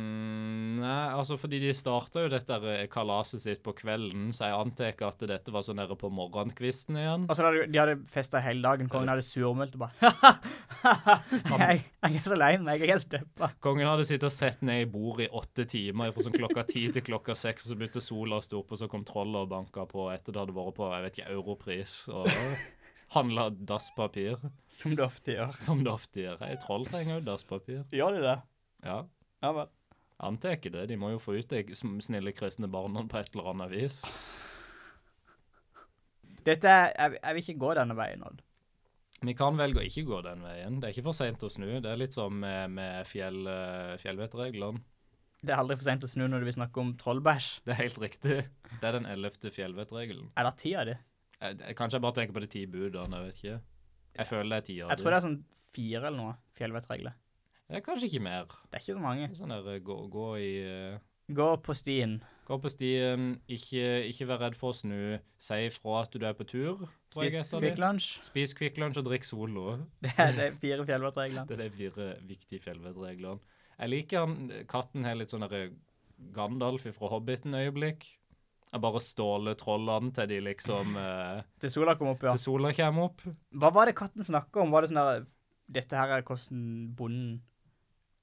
Speaker 1: Mm, nei, altså fordi de starta jo dette her eh, kalaset sitt på kvelden, så jeg antar at dette var sånn der på morgenkvisten igjen.
Speaker 2: Og så hadde de hadde festa hele dagen. Kongen hadde surmulkt og bare jeg, jeg er så lei meg, jeg er støppa.
Speaker 1: Kongen hadde sittet og sett ned i bordet i åtte timer, fra sånn klokka ti til klokka seks, og så begynte sola å stå opp, og så kom trollet og banka på etter det hadde vært på jeg vet ikke, Europris og handla dasspapir,
Speaker 2: Som det ofte gjør.
Speaker 1: som det ofte gjør. Hei, troll trenger jo dasspapir.
Speaker 2: Gjør de det?
Speaker 1: Ja,
Speaker 2: Ja vel.
Speaker 1: antar ikke det. De må jo få ut de snille kristne barna på et eller annet vis.
Speaker 2: Dette er, jeg, jeg vil ikke gå denne veien, Odd.
Speaker 1: Vi kan velge å ikke gå den veien. Det er ikke for seint å snu. Det er litt som med, med fjell, eh, fjellvettreglene.
Speaker 2: Det er aldri for seint å snu når du vil snakke om trollbæsj.
Speaker 1: Det er helt riktig. Det er den ellevte fjellvettregelen.
Speaker 2: Er det tida di?
Speaker 1: Jeg- jeg- Kanskje jeg bare tenker på de ti budene, jeg vet ikke. Jeg føler det er ti av
Speaker 2: Jeg tror det
Speaker 1: dem.
Speaker 2: er sånn fire eller noe. Fjellvettregler.
Speaker 1: Det er kanskje ikke mer.
Speaker 2: Det er ikke så mange.
Speaker 1: Det er Sånn der eh, gå, gå i eh,
Speaker 2: Gå på stien.
Speaker 1: Gå på stien, ikke, ikke vær redd for å snu. Si ifra at du er på tur. tror jeg
Speaker 2: Spis
Speaker 1: heter det.
Speaker 2: Quick Lunch.
Speaker 1: Spis Kvikk Lunsj og drikk Solo.
Speaker 2: Det er de fire fjellvettreglene.
Speaker 1: Det er de fire viktige fjellvettreglene. Jeg liker han, katten har litt sånn derre Gandalf fra Hobbiten-øyeblikk. Jeg bare ståler trollene til de liksom eh,
Speaker 2: Til sola kom opp, ja.
Speaker 1: Til sola kommer opp.
Speaker 2: Hva var det katten snakka om? Var det sånn der Dette her er hvordan bonden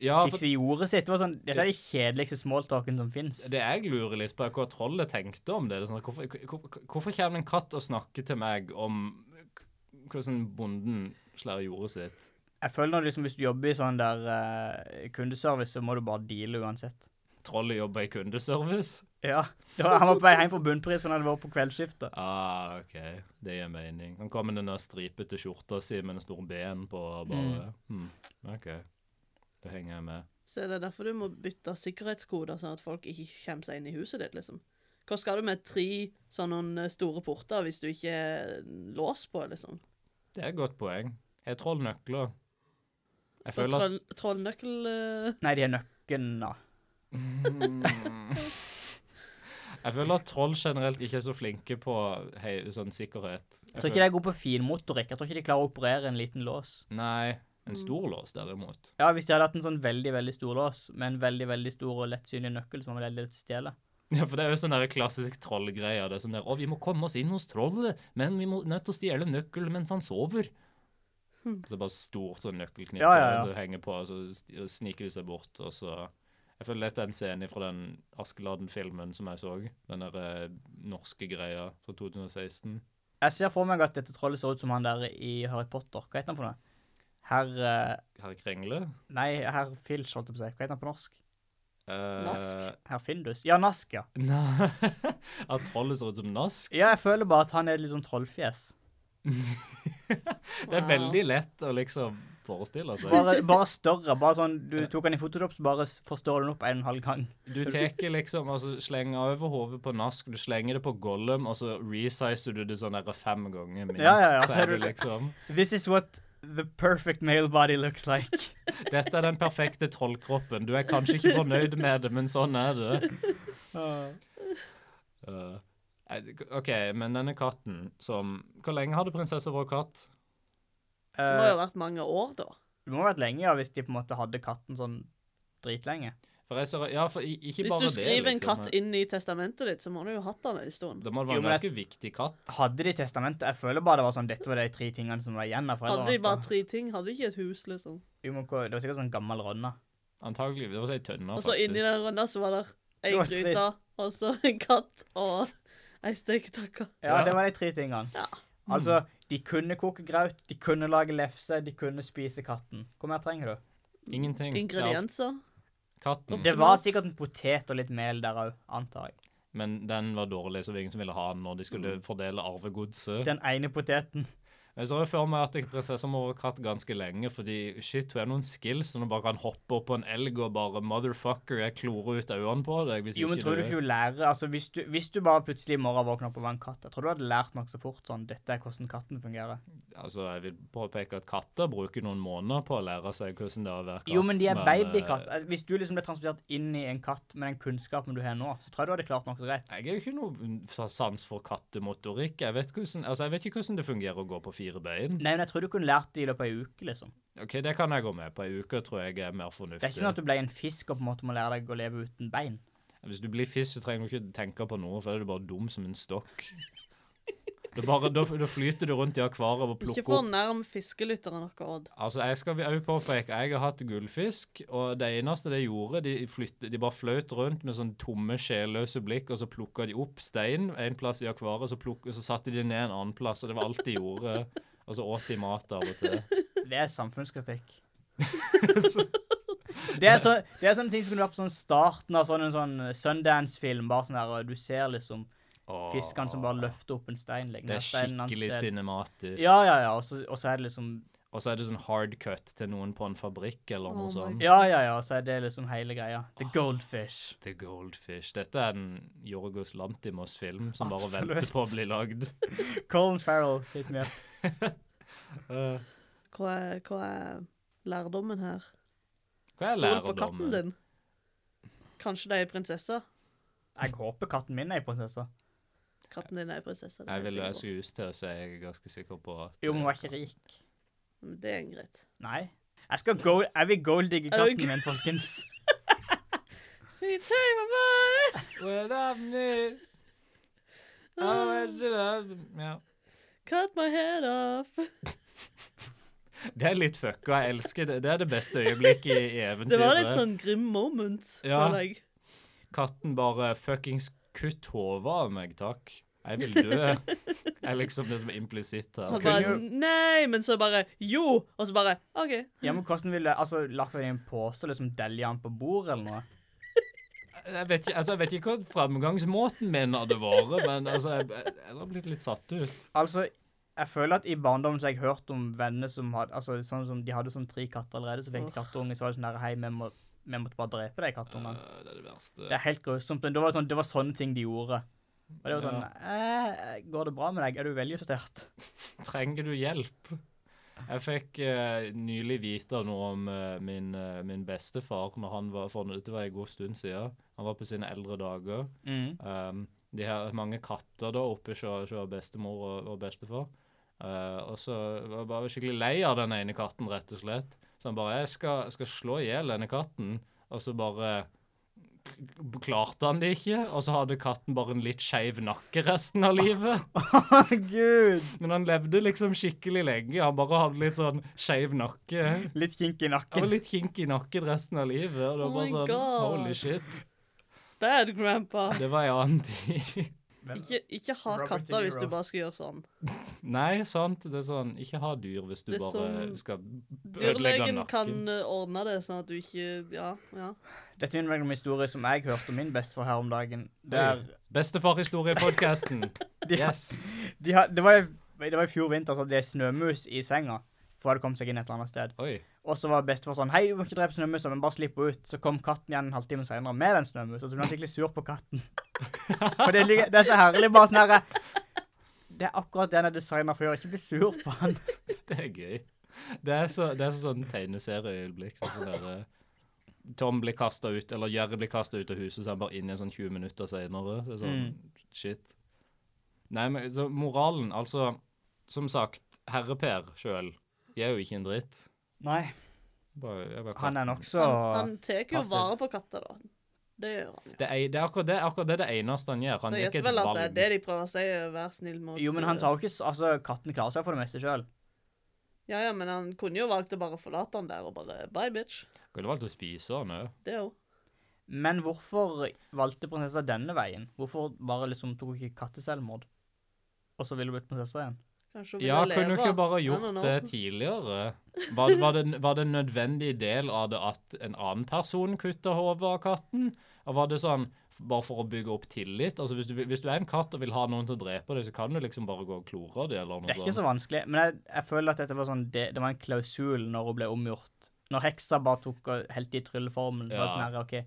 Speaker 1: Ja, for
Speaker 2: fikk i jordet sitt? Det var sånn, Dette er de kjedeligste smalltalken som fins.
Speaker 1: det jeg lurer litt på, er hva trollet tenkte om det. det er sånn, hvorfor, hvor- hvorfor kommer en katt og snakker til meg om k- hvordan bonden slår jordet sitt?
Speaker 2: Jeg føler nå liksom, Hvis du jobber i sånn der eh, kundeservice, så må du bare deale uansett.
Speaker 1: Trollet jobber i kundeservice?
Speaker 2: Ja. Det var, han var på vei hjem fra bunnpris, for han hadde vært på kveldsskiftet.
Speaker 1: Ah, OK. Det gir mening. Han kom med den der stripete skjorta si med den store B-en på bare
Speaker 2: Mm.
Speaker 1: hmm. OK. Da henger jeg med.
Speaker 3: Så er det derfor du må bytte sikkerhetskoder, sånn at folk ikke kommer seg inn i huset ditt, liksom. Hva skal du med tre sånne eh, store porter hvis du ikke er lås på, liksom?
Speaker 1: Det er et godt poeng. Har troll nøkler? Jeg
Speaker 3: Og
Speaker 1: føler at
Speaker 3: Troll, trollnøkkel eh,
Speaker 2: Nei, de er nøkkene.
Speaker 1: jeg føler at troll generelt ikke er så flinke på hei, sånn sikkerhet. Jeg
Speaker 2: Jeg tror ikke de er gode på finmotorikk. Jeg tror ikke de klarer å operere en liten lås.
Speaker 1: føler- Nei. En
Speaker 2: Mm.
Speaker 1: stor lås, derimot.
Speaker 2: Ja, Hvis de hadde hatt en sånn veldig veldig stor lås med en veldig veldig stor og lettsynlig nøkkel, som var veldig lett å stjele
Speaker 1: Ja, for Det er jo sånn der klassisk trollgreier. Det er sånn der, 'Å, vi må komme oss inn hos trollet, men vi må nødt til å stjele nøkkelen mens han sover.' Så bare stort sånn nøkkelknippe
Speaker 2: Ja, ja, ja.
Speaker 1: som henger på, og så st- sniker de seg bort, og så Jeg føler dette er en scene fra den Askeladden-filmen som jeg så. Den der eh, norske greia fra 2016.
Speaker 2: Jeg ser for meg at dette trollet ser ut som han der i Harry Potter. Hva heter han for noe? Herr eh,
Speaker 1: Herr Kringle?
Speaker 2: Nei, herr Filch, holdt jeg på å si. Hva heter han på norsk?
Speaker 1: Eh,
Speaker 3: Nask.
Speaker 2: Herr Findus? Ja, Nask, ja.
Speaker 1: Nei At trollet ser ut som nask?
Speaker 2: Ja, jeg føler bare at han er et litt sånn trollfjes.
Speaker 1: Det er veldig lett å liksom forestille seg.
Speaker 2: Bare, bare større. bare sånn, Du tok han i Photoshop, så bare s- forstår du den opp en og en halv gang.
Speaker 1: Du teker liksom, altså slenger over hodet på nask, du slenger det på gollum, og så resizer du det sånn der fem ganger minst.
Speaker 2: Ja, ja, ja,
Speaker 1: så
Speaker 2: så er
Speaker 1: er du
Speaker 2: du-
Speaker 1: liksom
Speaker 2: This is what the perfect male body looks like.
Speaker 1: Dette er den perfekte trollkroppen. Du er kanskje ikke fornøyd med det, men sånn er det.
Speaker 2: Eh,
Speaker 1: Uh, eh, OK, men denne katten som Hvor lenge hadde prinsessa vår katt?
Speaker 3: Det må jo
Speaker 2: Eh,
Speaker 3: ha vært mange år, da.
Speaker 2: det må ha vært lenge, ja, hvis de på en måte hadde katten sånn dritlenge.
Speaker 1: For jeg ser, ja, for i- ikke
Speaker 3: Hvis
Speaker 1: bare
Speaker 3: du
Speaker 1: det.
Speaker 3: skriver en
Speaker 1: liksom,
Speaker 3: katt
Speaker 1: men-
Speaker 3: inn i testamentet ditt, så må du jo ha hatt den en stund.
Speaker 1: Da må det være en
Speaker 2: Jo, men jeg-
Speaker 1: ganske viktig katt.
Speaker 2: Hadde de testamentet? Jeg føler bare det var sånn, dette var de tre tingene som var igjen av
Speaker 3: Hadde
Speaker 2: foreldrene.
Speaker 3: de bare tre ting, hadde de ikke et hus, liksom.
Speaker 2: Jo, men hva- Det var sikkert sånn gammel rønne.
Speaker 1: Antagelig. Det var ei tønne,
Speaker 3: Og
Speaker 1: faktisk.
Speaker 3: så inni den rønna så var der ei
Speaker 2: Det var tre.
Speaker 3: gryte, og så en katt og ei steketakke.
Speaker 2: Ja,
Speaker 1: Ja.
Speaker 2: det var de tre tingene.
Speaker 3: Ja.
Speaker 2: Altså, de kunne koke graut, de kunne lage lefse, de kunne spise katten. Hvor mer trenger du?
Speaker 1: Ingenting.
Speaker 3: Ingredienser.
Speaker 1: Ja,
Speaker 3: Mm.
Speaker 1: katten.
Speaker 2: Det var sikkert en potet og litt mel der òg, antar jeg. Mm.
Speaker 1: Men den var dårlig, så det var ingen som ville ha den når de skulle fordele arvegodset.
Speaker 2: Den ene poteten.
Speaker 1: Jeg ser jo for meg at jeg prinsessa må ha katt ganske lenge, fordi shit, hun har noen skills som hun bare kan hoppe opp på en elg og bare motherfucker, jeg klorer ut øynene på deg hvis
Speaker 2: Jo, men
Speaker 1: ikke
Speaker 2: tror du ikke du lærer Altså, hvis du, hvis du bare plutselig i morgen våkner opp og var en katt, jeg tror du hadde lært nokså fort sånn Dette er hvordan katten fungerer.
Speaker 1: Altså, jeg vil påpeke at katter bruker noen måneder på å lære seg hvordan det er å være katt.
Speaker 2: Jo, men de er
Speaker 1: eh,
Speaker 2: babykatt. Eh, Hvis du liksom ble transportert inn i en katt med den kunnskapen du har nå, så tror jeg du hadde klart nokså greit.
Speaker 1: Jeg er jo ikke noe sans for kattemotorikk. Jeg vet, hvordan, altså, jeg vet ikke hvordan det fungerer å gå på fire bein.
Speaker 2: Nei, men jeg tror du kunne lært det i løpet av ei uke, liksom.
Speaker 1: Ok, Det kan jeg gå med på. Ei uke tror jeg er mer fornuftig.
Speaker 2: Det er ikke sånn at du ble en fisk og på en måte må lære deg å leve uten bein.
Speaker 1: Hvis du blir fisk, så trenger du ikke tenke på noe, for da er du bare dum som en stokk. Da, bare, da, da flyter du rundt i akvariet og
Speaker 3: Ikke
Speaker 1: plukker
Speaker 3: for
Speaker 1: opp
Speaker 3: nærm fiskelytteren noe, Odd.
Speaker 1: Altså, Jeg skal også påpeke jeg har hatt gullfisk, og det eneste de gjorde, de, flytte, de bare fløt rundt med sånn tomme, sjelløse blikk, og så plukka de opp stein en plass i akvariet, så, plukk- så satte de det ned en annen plass, og det var alt de gjorde. Og så åt de mat av og til.
Speaker 2: Det er samfunnskritikk. det, er så, det er sånne ting som kunne vært på sånn starten av sånn en sånn Sundance-film. bare sånn der, og Du ser liksom
Speaker 1: Åh,
Speaker 2: fiskene som bare løfter opp en stein. legger
Speaker 1: Det
Speaker 2: ned
Speaker 1: er
Speaker 2: steinen et annet
Speaker 1: skikkelig
Speaker 2: sted.
Speaker 1: cinematisk.
Speaker 2: Ja, ja, ja. Og så, og så er det liksom
Speaker 1: Og så er det sånn hard cut til noen på en fabrikk eller noe
Speaker 3: Oh my
Speaker 1: sånt.
Speaker 2: Ja, ja, ja. Og så er det liksom hele greia. The Goldfish.
Speaker 1: The Goldfish. Dette er en Jorgos Lantimos-film som bare
Speaker 2: Absolutt.
Speaker 1: venter på å bli lagd.
Speaker 2: Colin Farrell. Litt mer.
Speaker 3: Hva er, hva er lærdommen her?
Speaker 1: Hva er
Speaker 3: Stol på katten
Speaker 1: lærdommen?
Speaker 3: din. Kanskje de er prinsesser?
Speaker 2: Jeg håper katten min er ei prinsesse.
Speaker 3: Katten din er prinsesse. det er
Speaker 1: Jeg vil
Speaker 3: jeg
Speaker 1: jeg
Speaker 3: sikker på.
Speaker 1: skulle just til å si jeg er ganske sikker på at
Speaker 2: Jo, men hun er ikke rik.
Speaker 3: Men Det er en greit.
Speaker 2: Nei. Jeg skal gold... Jeg vil golddigge
Speaker 3: Er du
Speaker 2: katten min, folkens.
Speaker 3: She take my money!
Speaker 1: Well, I'm new. Oh, I love ja.
Speaker 3: Cut my head off!
Speaker 1: Det er litt fucka. Jeg elsker det. Det er det beste øyeblikket i, i eventyret.
Speaker 3: Det var litt sånn grim moment,
Speaker 1: Ja.
Speaker 3: føler jeg.
Speaker 1: Katten bare fuckings kutt hodet av meg, takk. Jeg vil dø. Det er liksom det som er implisitt her.
Speaker 3: Han
Speaker 2: kunne
Speaker 3: bare Nei! Men så bare Jo! Og så bare OK.
Speaker 2: Ja, men hvordan ville Altså, lagt den i en pose og liksom delja den på bordet eller noe?
Speaker 1: Jeg vet ikke, altså, jeg vet ikke hva framgangsmåten min hadde vært, men altså, jeg, jeg, jeg hadde blitt litt satt ut.
Speaker 2: Altså, jeg føler at i barndommen så har jeg hørt om venner som hadde Altså, sånn som de hadde sånn tre katter allerede, så fikk de kattunge, så var det sånn der Hei, vi, må, vi måtte bare drepe de kattungene.
Speaker 1: Øh, det er det
Speaker 2: Det
Speaker 1: verste.
Speaker 2: er helt grusomt. Men det var, sånn, det var sånne ting de gjorde. Og det var sånn
Speaker 1: Ja.
Speaker 2: eh, Går det bra med deg? Er du veljustert?
Speaker 1: Trenger du hjelp? Jeg fikk eh, nylig vite noe om eh, min, eh, min bestefar når han var for Dette var en god stund siden. Han var på sine eldre dager.
Speaker 2: Mm.
Speaker 1: Um, de har mange katter da oppe hos hos bestemor og, og bestefar. Eh, og så var jeg bare skikkelig lei av den ene katten, rett og slett. Så han bare Jeg skal, skal slå i hjel denne katten. Og så bare k- klarte han det ikke. Og så hadde katten bare en litt skeiv nakke resten av livet.
Speaker 2: Gud!
Speaker 1: Men han levde liksom skikkelig lenge. Han bare hadde litt sånn skeiv nakke.
Speaker 2: Litt kink i
Speaker 1: Han
Speaker 2: nakken.
Speaker 1: var litt kink i nakken resten av livet. Og det
Speaker 3: Oh
Speaker 1: var bare
Speaker 3: my
Speaker 1: sånn
Speaker 3: God.
Speaker 1: Holy shit.
Speaker 3: Bad grandpa.
Speaker 1: Det var en annen tid.
Speaker 2: Hvem-
Speaker 3: Ikke, ikke ha
Speaker 2: Robert De
Speaker 3: katter hvis
Speaker 2: Niro.
Speaker 3: du bare skal gjøre sånn.
Speaker 1: Nei, sant. Det er sånn, ikke ha dyr hvis du
Speaker 3: Det er
Speaker 1: bare
Speaker 3: sånn-
Speaker 1: skal ødelegge
Speaker 3: Dyrlegen kan
Speaker 1: nakken.
Speaker 3: eh, ordne det, sånn at du ikke Ja. ja.
Speaker 2: Dette minner meg om en historie som jeg hørte om min bestefar her om dagen. Der
Speaker 1: Bestefarhistorie-podkasten.
Speaker 2: de,
Speaker 1: Yes.
Speaker 2: de, har- det, var, i- det var i fjor vinter så hadde de snømus i senga. For hun hadde kommet seg inn et eller annet sted.
Speaker 1: Oi.
Speaker 2: Og så var bestefar sånn Hei, du må ikke drepe snømusa, men bare slipp henne ut. Så kom katten igjen en halvtime senere med den snømusa, så ble han skikkelig sur på katten. For det, ligger- det er så herlig, bare sånn herre Det er akkurat den jeg designa for å gjøre. Ikke bli sur på han.
Speaker 1: Det er gøy. Det er, så, det er så sånn tegneserieøyeblikk. det er Sånn der, eh, Tom blir kasta ut, eller Jerry blir kasta ut av huset, så er han bare inne i sånn 20 minutter seinere. Det er sånn
Speaker 2: Mm.
Speaker 1: shit. Nei, men så moralen, altså Som sagt, herre-Per sjøl gir jo ikke en dritt.
Speaker 2: Nei,
Speaker 1: Bare, jeg bare
Speaker 2: han er
Speaker 3: Han,
Speaker 2: nokså
Speaker 3: han tar jo
Speaker 1: passiv.
Speaker 3: vare på katter, da. Det gjør han.
Speaker 1: Det er, det er akkurat det, akkurat det, er det eneste han gjør. Han
Speaker 3: Så jeg
Speaker 1: gjør ikke
Speaker 3: gjetter
Speaker 1: et
Speaker 3: vel
Speaker 1: valg.
Speaker 3: at det er det de prøver å si, er vær snill mot
Speaker 2: Jo, men han tar jo ikke s- Altså, katten klarer seg for det meste sjøl.
Speaker 3: eh, Ja, ja, men han kunne jo valgt å bare forlate han der og bare bye, bitch.
Speaker 1: Kunne valgt å spise han òg.
Speaker 3: Det òg.
Speaker 2: Men hvorfor valgte prinsessa denne veien? Hvorfor bare liksom tok hun ikke katteselvmord? Og så ville hun blitt prinsesse igjen?
Speaker 3: Kanskje hun
Speaker 1: Ja,
Speaker 3: ville
Speaker 1: kunne du
Speaker 3: leve.
Speaker 1: ikke bare
Speaker 3: I don't
Speaker 1: gjort
Speaker 3: know.
Speaker 1: det tidligere? Var, var, det, var det en nødvendig del av det at en annen person kutta hodet av katten? Og var det sånn bare for å bygge opp tillit. Altså Hvis du, hvis du er en katt og vil ha noen til å drepe deg, så kan du liksom bare gå og klore det eller
Speaker 2: Det er
Speaker 1: noe
Speaker 2: ikke sånn. så
Speaker 1: sånt.
Speaker 2: vanskelig, men jeg, jeg føler at dette var sånn, det, det var en klausul når hun ble omgjort. Når heksa bare tok og helte i trylleformen. så var det
Speaker 1: Ja.
Speaker 2: Sånn her, ok,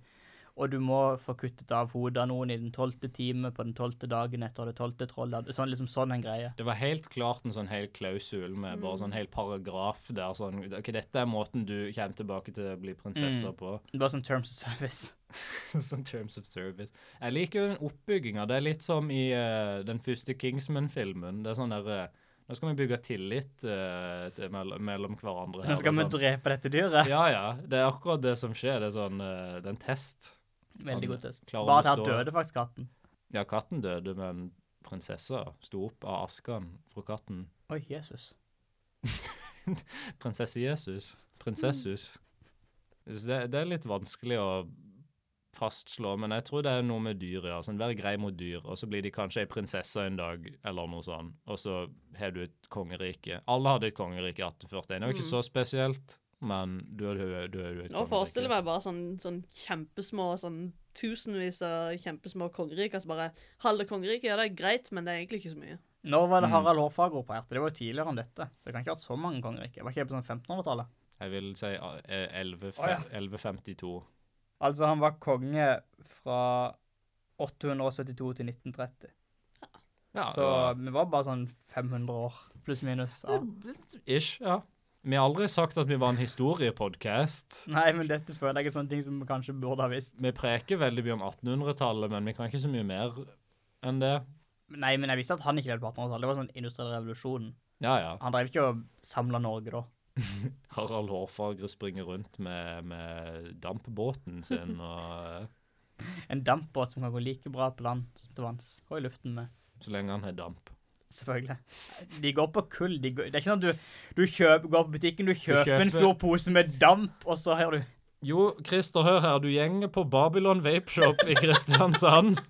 Speaker 2: og du må få kuttet av hodet av noen i den tolvte time på den tolvte dagen etter det tolvte trollet. Sånn, liksom sånn en greie.
Speaker 1: Det var helt klart en sånn hel klausul med
Speaker 3: Mm.
Speaker 1: bare sånn hel paragraf der sånn OK, dette er måten du kommer tilbake til å bli prinsesse
Speaker 2: Mm.
Speaker 1: på.
Speaker 2: Det var sånn terms of service.
Speaker 1: sånn terms of service. Jeg liker jo den oppbygginga. Det er litt som i eh, den første Kingsman-filmen. Det er sånn der eh, Nå skal vi bygge tillit eh, til, mell mellom hverandre. her,
Speaker 2: Nå skal vi
Speaker 1: og sånn.
Speaker 2: drepe dette dyret.
Speaker 1: Ja, ja. Det er akkurat det som skjer. Det er sånn eh, Det er en test.
Speaker 2: Veldig
Speaker 1: Han
Speaker 2: god test.
Speaker 1: klarer å
Speaker 2: Bare at her
Speaker 1: bestå.
Speaker 2: døde faktisk katten.
Speaker 1: Ja, katten døde, men prinsessa sto opp av asken fra katten.
Speaker 2: Oi, Jesus.
Speaker 1: Prinsesse Jesus. Prinsessus. Så det, det er litt vanskelig å fastslå, men jeg tror det er noe med dyr, ja. Sånn, Vær grei mot dyr, og så blir de kanskje ei prinsesse en dag, eller noe sånt. Og så har du et kongerike. Alle hadde et kongerike i 1841. Det var ikke så spesielt, men du har du, har- du, har jo et
Speaker 3: Mm. Nå forestiller jeg
Speaker 1: kongerike.
Speaker 3: meg bare sånn, sånn kjempesmå sånn tusenvis av kjempesmå kongeriker som bare Halve kongeriket, ja, det er greit, men det er egentlig ikke så mye.
Speaker 2: Når var det
Speaker 1: Mm.
Speaker 2: Harald Hårfagro på hjertet? Det var jo tidligere enn dette. Så det kan ikke ha vært så mange kongeriker. Var ikke det på sånn 1500-tallet?
Speaker 1: Jeg vil si ah, eh, 11,
Speaker 2: Å, ja.
Speaker 1: 1152.
Speaker 2: Altså, han var konge fra 872 til 1930.
Speaker 1: Ja, det
Speaker 2: så
Speaker 1: var-
Speaker 2: vi var bare sånn 500 år, pluss minus. Ja.
Speaker 1: Ish, ja. Vi har aldri sagt at vi var en historiepodcast.
Speaker 2: Nei, men dette føler jeg er sånne ting som vi kanskje burde ha visst.
Speaker 1: Vi preker veldig mye om 1800-tallet, men vi kan ikke så mye mer enn det.
Speaker 2: Nei, men jeg visste at han ikke levde på 1800-tallet. Det var sånn industriell revolusjon.
Speaker 1: Ja, ja.
Speaker 2: Han drev ikke og samla Norge da.
Speaker 1: Harald Hårfagre springer rundt med, med dampbåten sin og eh,
Speaker 2: En dampbåt som kan gå like bra på land som til vanns, og i luften med.
Speaker 1: Så lenge han har damp.
Speaker 2: Selvfølgelig. De går på kull. De går, det er ikke sånn at du, du kjøper, går på butikken, du kjøper,
Speaker 1: kjøper-
Speaker 2: en stor pose med damp, og så har du
Speaker 1: Jo, Christer, hør her. Du gjenger på Babylon Vapeshop i Kristiansand.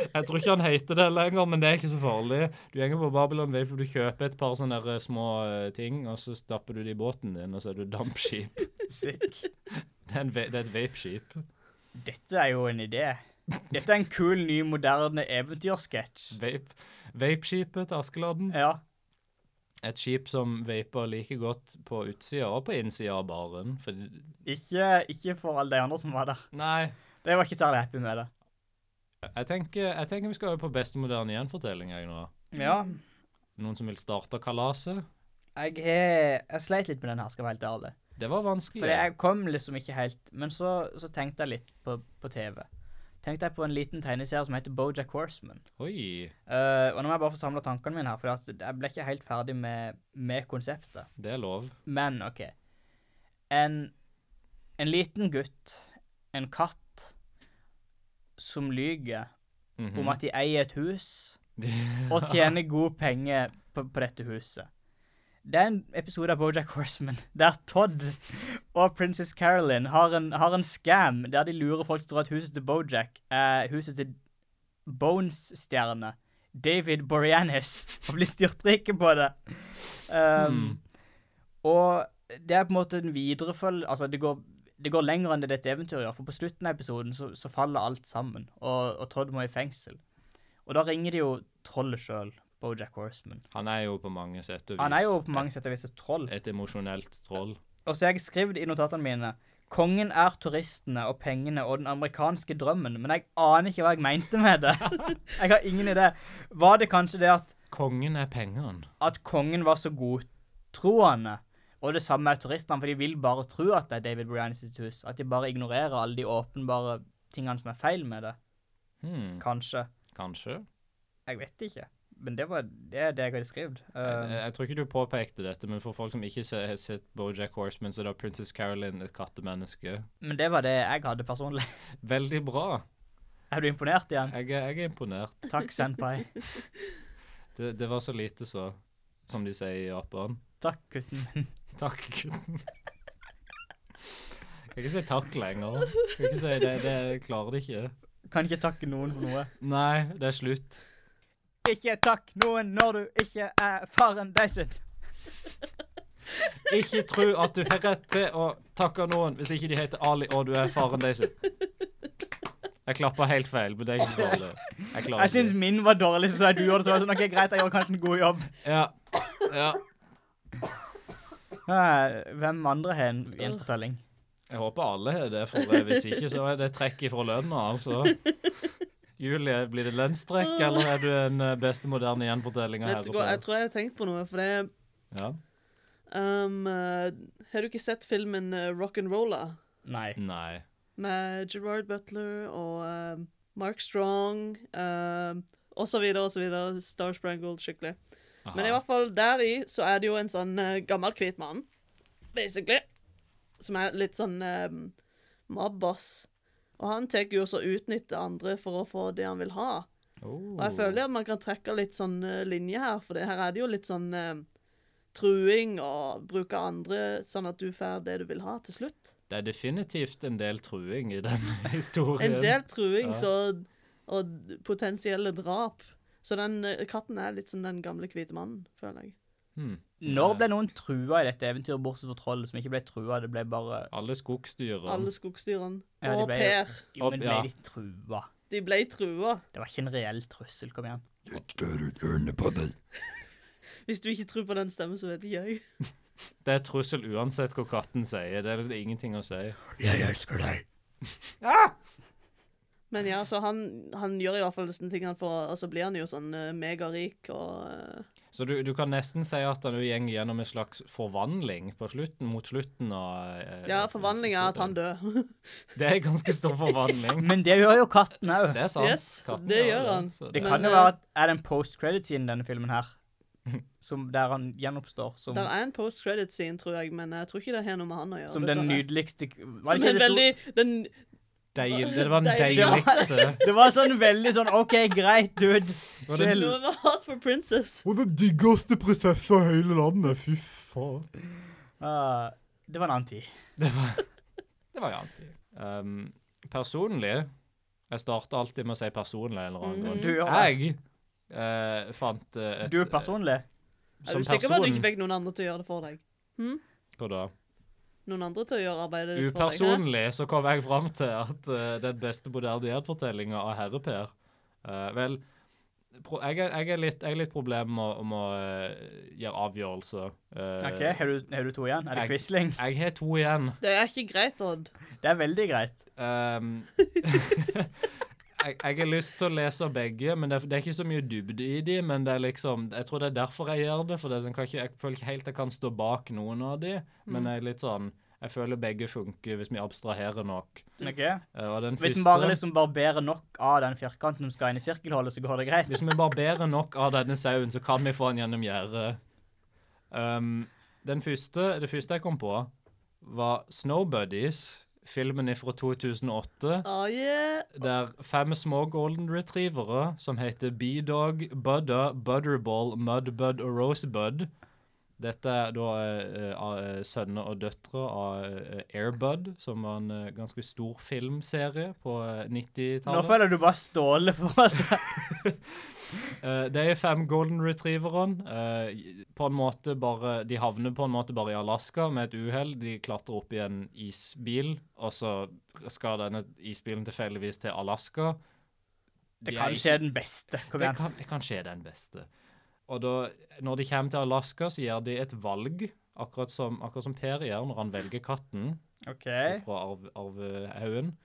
Speaker 1: Jeg tror ikke han heter det lenger, men det er ikke så farlig. Du gjenger på Babylon Vapeshop, du kjøper et par sånne der små eh, ting, og så stapper du det i båten din, og så er du dampskip.
Speaker 2: Sick.
Speaker 1: Det er, en, va- det er et vapeskip.
Speaker 2: Dette er jo en idé. Dette er en kul, ny, moderne eventyrsketsj.
Speaker 1: Vape. Vapeskipet til Askeladden.
Speaker 2: Ja.
Speaker 1: et skip som vaper like godt på utsida og på innsida av baren. Fordi
Speaker 2: Ikke, ikke for alle de andre som var der.
Speaker 1: Nei.
Speaker 2: De var ikke særlig happy med det.
Speaker 1: Jeg tenker, jeg tenker vi skal over på beste moderne gjenfortelling. Jeg, nå.
Speaker 2: Ja,
Speaker 1: Noen som vil starte kalaset?
Speaker 2: jeg, har- jeg sleit litt med den her, skal jeg være helt ærlig.
Speaker 1: Det var vanskelig.
Speaker 2: For jeg kom liksom ikke helt Men så, så tenkte jeg litt på, på TV. Tenkte jeg på en liten tegneserie som heter Bojack Horseman.
Speaker 1: Oi.
Speaker 2: Eh, og nå må jeg bare få samla tankene mine her, for jeg ble ikke helt ferdig med, med konseptet.
Speaker 1: Det er lov.
Speaker 2: Men OK. En, en liten gutt, en katt, som lyver
Speaker 1: Mhm.
Speaker 2: om at de eier et hus. og tjener gode penger på, på dette huset. Det er en episode av Bojack Horseman der Todd og Princess Carolyn har en, har en scam der de lurer folk til å tro at huset til Bojack er huset til Bones-stjerne David Boreanis, og blir styrtrike på det. Um, Og det er på en måte en viderefølge Altså, det går, det går lenger enn det dette eventyret gjør, for på slutten av episoden så, så faller alt sammen, og, og Todd må i fengsel. Og da ringer de jo trollet sjøl, Bojack Horseman.
Speaker 1: Han er jo på mange sett og vis
Speaker 2: Han er jo på mange sett og vis et troll.
Speaker 1: et emosjonelt troll.
Speaker 2: Og så har jeg skrevet i notatene mine Kongen er turistene og pengene og den amerikanske drømmen, men jeg aner ikke hva jeg mente med det. Jeg har ingen idé. Var det kanskje det at,
Speaker 1: Kongen er pengene.
Speaker 2: at kongen var så godtroende, og det samme er turistene, for de vil bare tro at det er David Brian sitt hus, at de bare ignorerer alle de åpenbare tingene som er feil med det.
Speaker 1: Hmm.
Speaker 2: Kanskje.
Speaker 1: Kanskje.
Speaker 2: Jeg vet ikke. Men det var det, er det jeg hadde skrevet.
Speaker 1: Jeg,
Speaker 2: Uh,
Speaker 1: jeg tror ikke du påpekte dette, men for folk som ikke se- har sett Bojack Horseman, så er da Princess Carolyn et kattemenneske.
Speaker 2: men det var det jeg hadde personlig.
Speaker 1: Veldig bra.
Speaker 2: Er du imponert igjen?
Speaker 1: Jeg, er- jeg er imponert.
Speaker 2: Takk, senpai.
Speaker 1: Det, det var så lite, så. Som de sier i Japan.
Speaker 2: Takk, gutten min.
Speaker 1: Takk, gutten. Jeg kan ikke si takk lenger. Jeg kan ikke si det, det jeg klarer det ikke.
Speaker 2: Kan ikke takke noen for noe.
Speaker 1: Nei, det er slutt.
Speaker 2: Ikke takk noen når du ikke er faren deg sin.
Speaker 1: Ikke tro at du har rett til å takke noen hvis ikke de heter Ali og du er faren deres. Jeg klappa helt feil, men det er ikke så farlig. Jeg klarer
Speaker 2: Jeg syns
Speaker 1: det.
Speaker 2: min var dårlig, så sa jeg du gjorde det. Så var jeg sånn, ok, greit, jeg gjorde kanskje en god jobb.
Speaker 1: Ja. ja.
Speaker 2: Eh, Hvem andre har en gjenfortelling?
Speaker 1: Jeg håper alle har det, for eh, hvis ikke så er det trekk ifra lønna, altså. Julie, blir det lønnstrekk, eller er du en eh, beste moderne gjenfortelling av
Speaker 3: Vet du hva, jeg
Speaker 1: herreparet?
Speaker 3: tror jeg har tenkt på noe, for det er
Speaker 1: Ja.
Speaker 3: um, eh, Har du ikke sett filmen eh, Rock'n'Roller?
Speaker 2: Nei.
Speaker 1: Nei.
Speaker 3: Med Gerard Butler og eh, Mark Strong eh, og så videre og så videre. Star Sprangled, skikkelig.
Speaker 1: Aha.
Speaker 3: Men i hvert fall der i så er det jo en sånn eh, gammel hvit mann, basically, som er litt sånn eh, mobbas. Og han tar jo også utnytte andre for å få det han vil ha.
Speaker 1: Oh.
Speaker 3: Og jeg føler at man kan trekke litt sånn eh, linje her, for det her er det jo litt sånn eh, truing og bruke andre sånn at du får det du vil ha til slutt.
Speaker 1: Det er definitivt en del truing i den historien.
Speaker 3: En del truing
Speaker 1: Ja.
Speaker 3: så, og d- potensielle drap. Så den eh, katten er litt som den gamle hvite mannen, føler jeg.
Speaker 1: Hmm.
Speaker 2: Når ble noen trua i dette eventyret, bortsett fra trollet, som ikke ble trua? Det ble bare
Speaker 1: Alle skogsdyrene.
Speaker 3: Alle skogsdyrene.
Speaker 2: Ja, de
Speaker 3: og
Speaker 2: ble-
Speaker 3: Per.
Speaker 2: Jo, men
Speaker 1: Opp, ja.
Speaker 2: ble de trua?
Speaker 3: De ble trua.
Speaker 2: Det var ikke en reell trussel, kom igjen.
Speaker 7: Jeg dør ut ørene på deg.
Speaker 3: Hvis du ikke tror på den stemmen, så vet ikke jeg.
Speaker 1: Det er trussel uansett hva katten sier. Det er liksom ingenting å si.
Speaker 7: Jeg elsker deg.
Speaker 3: Men ja, så han, han gjør i hvert fall disse tingene for Og så blir han jo sånn eh, megarik og eh,
Speaker 1: Så du, du kan nesten si at han jo går gjennom en slags forvandling på slutten, mot slutten av eh,
Speaker 3: Ja, forvandlingen er at han dør.
Speaker 1: Det er ganske stor forvandling.
Speaker 2: Men det gjør jo katten òg.
Speaker 1: Det er sant.
Speaker 3: Yes, det gjør han.
Speaker 1: så
Speaker 2: Det
Speaker 1: det-
Speaker 2: kan
Speaker 3: Men,
Speaker 2: jo
Speaker 3: eh,
Speaker 2: være at er det en post-credit-siden i denne filmen her, som, der han gjenoppstår som,
Speaker 3: Der er en post-credit-scene, tror jeg, men jeg tror ikke det har noe med han å gjøre.
Speaker 2: som den
Speaker 3: dessverre.
Speaker 2: nydeligste var
Speaker 3: Som
Speaker 2: ikke det,
Speaker 3: en
Speaker 2: sto-
Speaker 3: veldig den,
Speaker 1: Deil, det var den
Speaker 3: Deilig.
Speaker 1: deiligste.
Speaker 2: det var sånn veldig sånn OK, greit, dude.
Speaker 1: Var det-
Speaker 2: Chill.
Speaker 3: Noe var hot for princess.
Speaker 6: Hun er den diggeste prinsessa i hele landet. Fy faen.
Speaker 2: Ah, det var en annen tid.
Speaker 1: Det var jo alltid. Um, personlig Jeg starter alltid med å si personlig en eller annen
Speaker 3: Mhm.
Speaker 1: gang.
Speaker 2: Du gjør det.
Speaker 1: Jeg eh, fant eh, et
Speaker 2: Du personlig?
Speaker 3: Er
Speaker 1: Som
Speaker 3: du sikker på at du
Speaker 1: person
Speaker 3: ikke fikk noen andre til å gjøre det for deg? Hm?
Speaker 1: Hva da?
Speaker 3: Noen andre til å gjøre arbeidet ditt for deg? hæ?
Speaker 1: Upersonlig så kom jeg fram til at eh, den beste moderne gjenfortellinga av Herre-Per eh, Vel, pro jeg, er, jeg, er litt, jeg er litt problem med å- om å eh, gjøre avgjørelser. Eh,
Speaker 2: OK, har du, har du to igjen? Er det
Speaker 1: jeg-
Speaker 2: Quisling?
Speaker 1: Jeg har to igjen.
Speaker 3: Det er ikke greit, Odd.
Speaker 2: Det er veldig greit.
Speaker 1: Um, jeg, jeg har lyst til å lese begge, men det, er- det er ikke så mye dybde i de, men det er liksom, jeg tror det er derfor jeg gjør det, for det er sånn, kan ikke, jeg føler ikke helt jeg kan stå bak noen av de,
Speaker 2: Mm.
Speaker 1: men jeg er litt sånn, jeg føler begge funker hvis vi abstraherer nok.
Speaker 2: Ok?
Speaker 1: Eh, og den
Speaker 2: Hvis vi
Speaker 1: første-
Speaker 2: bare liksom barberer nok av den firkanten som skal inn i sirkelhullet, så går det greit.
Speaker 1: Hvis vi barberer nok av denne sauen, så kan vi få den gjennom gjerdet. Um, den første, det første jeg kom på, var Snow Buddies, filmen fra 2008.
Speaker 3: Ah, yeah.
Speaker 1: Det er fem små golden retrievere som heter B-Dog, Budda, Butterball, Mudbud og Rosebud. Dette er da eh, eh, sønner og døtre av eh, Airbud, som var en eh, ganske stor filmserie på eh,
Speaker 2: Nå
Speaker 1: 90-tallet.
Speaker 2: føler du bare Ståle for oss.
Speaker 1: Eh, de er fem golden retrieverne. eh, på en måte bare, de havner på en måte bare i Alaska med et uhell. De klatrer opp i en isbil, og så skal denne isbilen tilfeldigvis til Alaska.
Speaker 2: Det
Speaker 1: De er
Speaker 2: kan
Speaker 1: ikke-
Speaker 2: skje den beste. Kom
Speaker 1: det
Speaker 2: igjen.
Speaker 1: kan, det kan skje den beste. Og da, når de kommer til Alaska, så gjør de et valg, akkurat som, akkurat som Per gjør når han velger katten
Speaker 2: OK.
Speaker 1: fra arv- arvehaugen.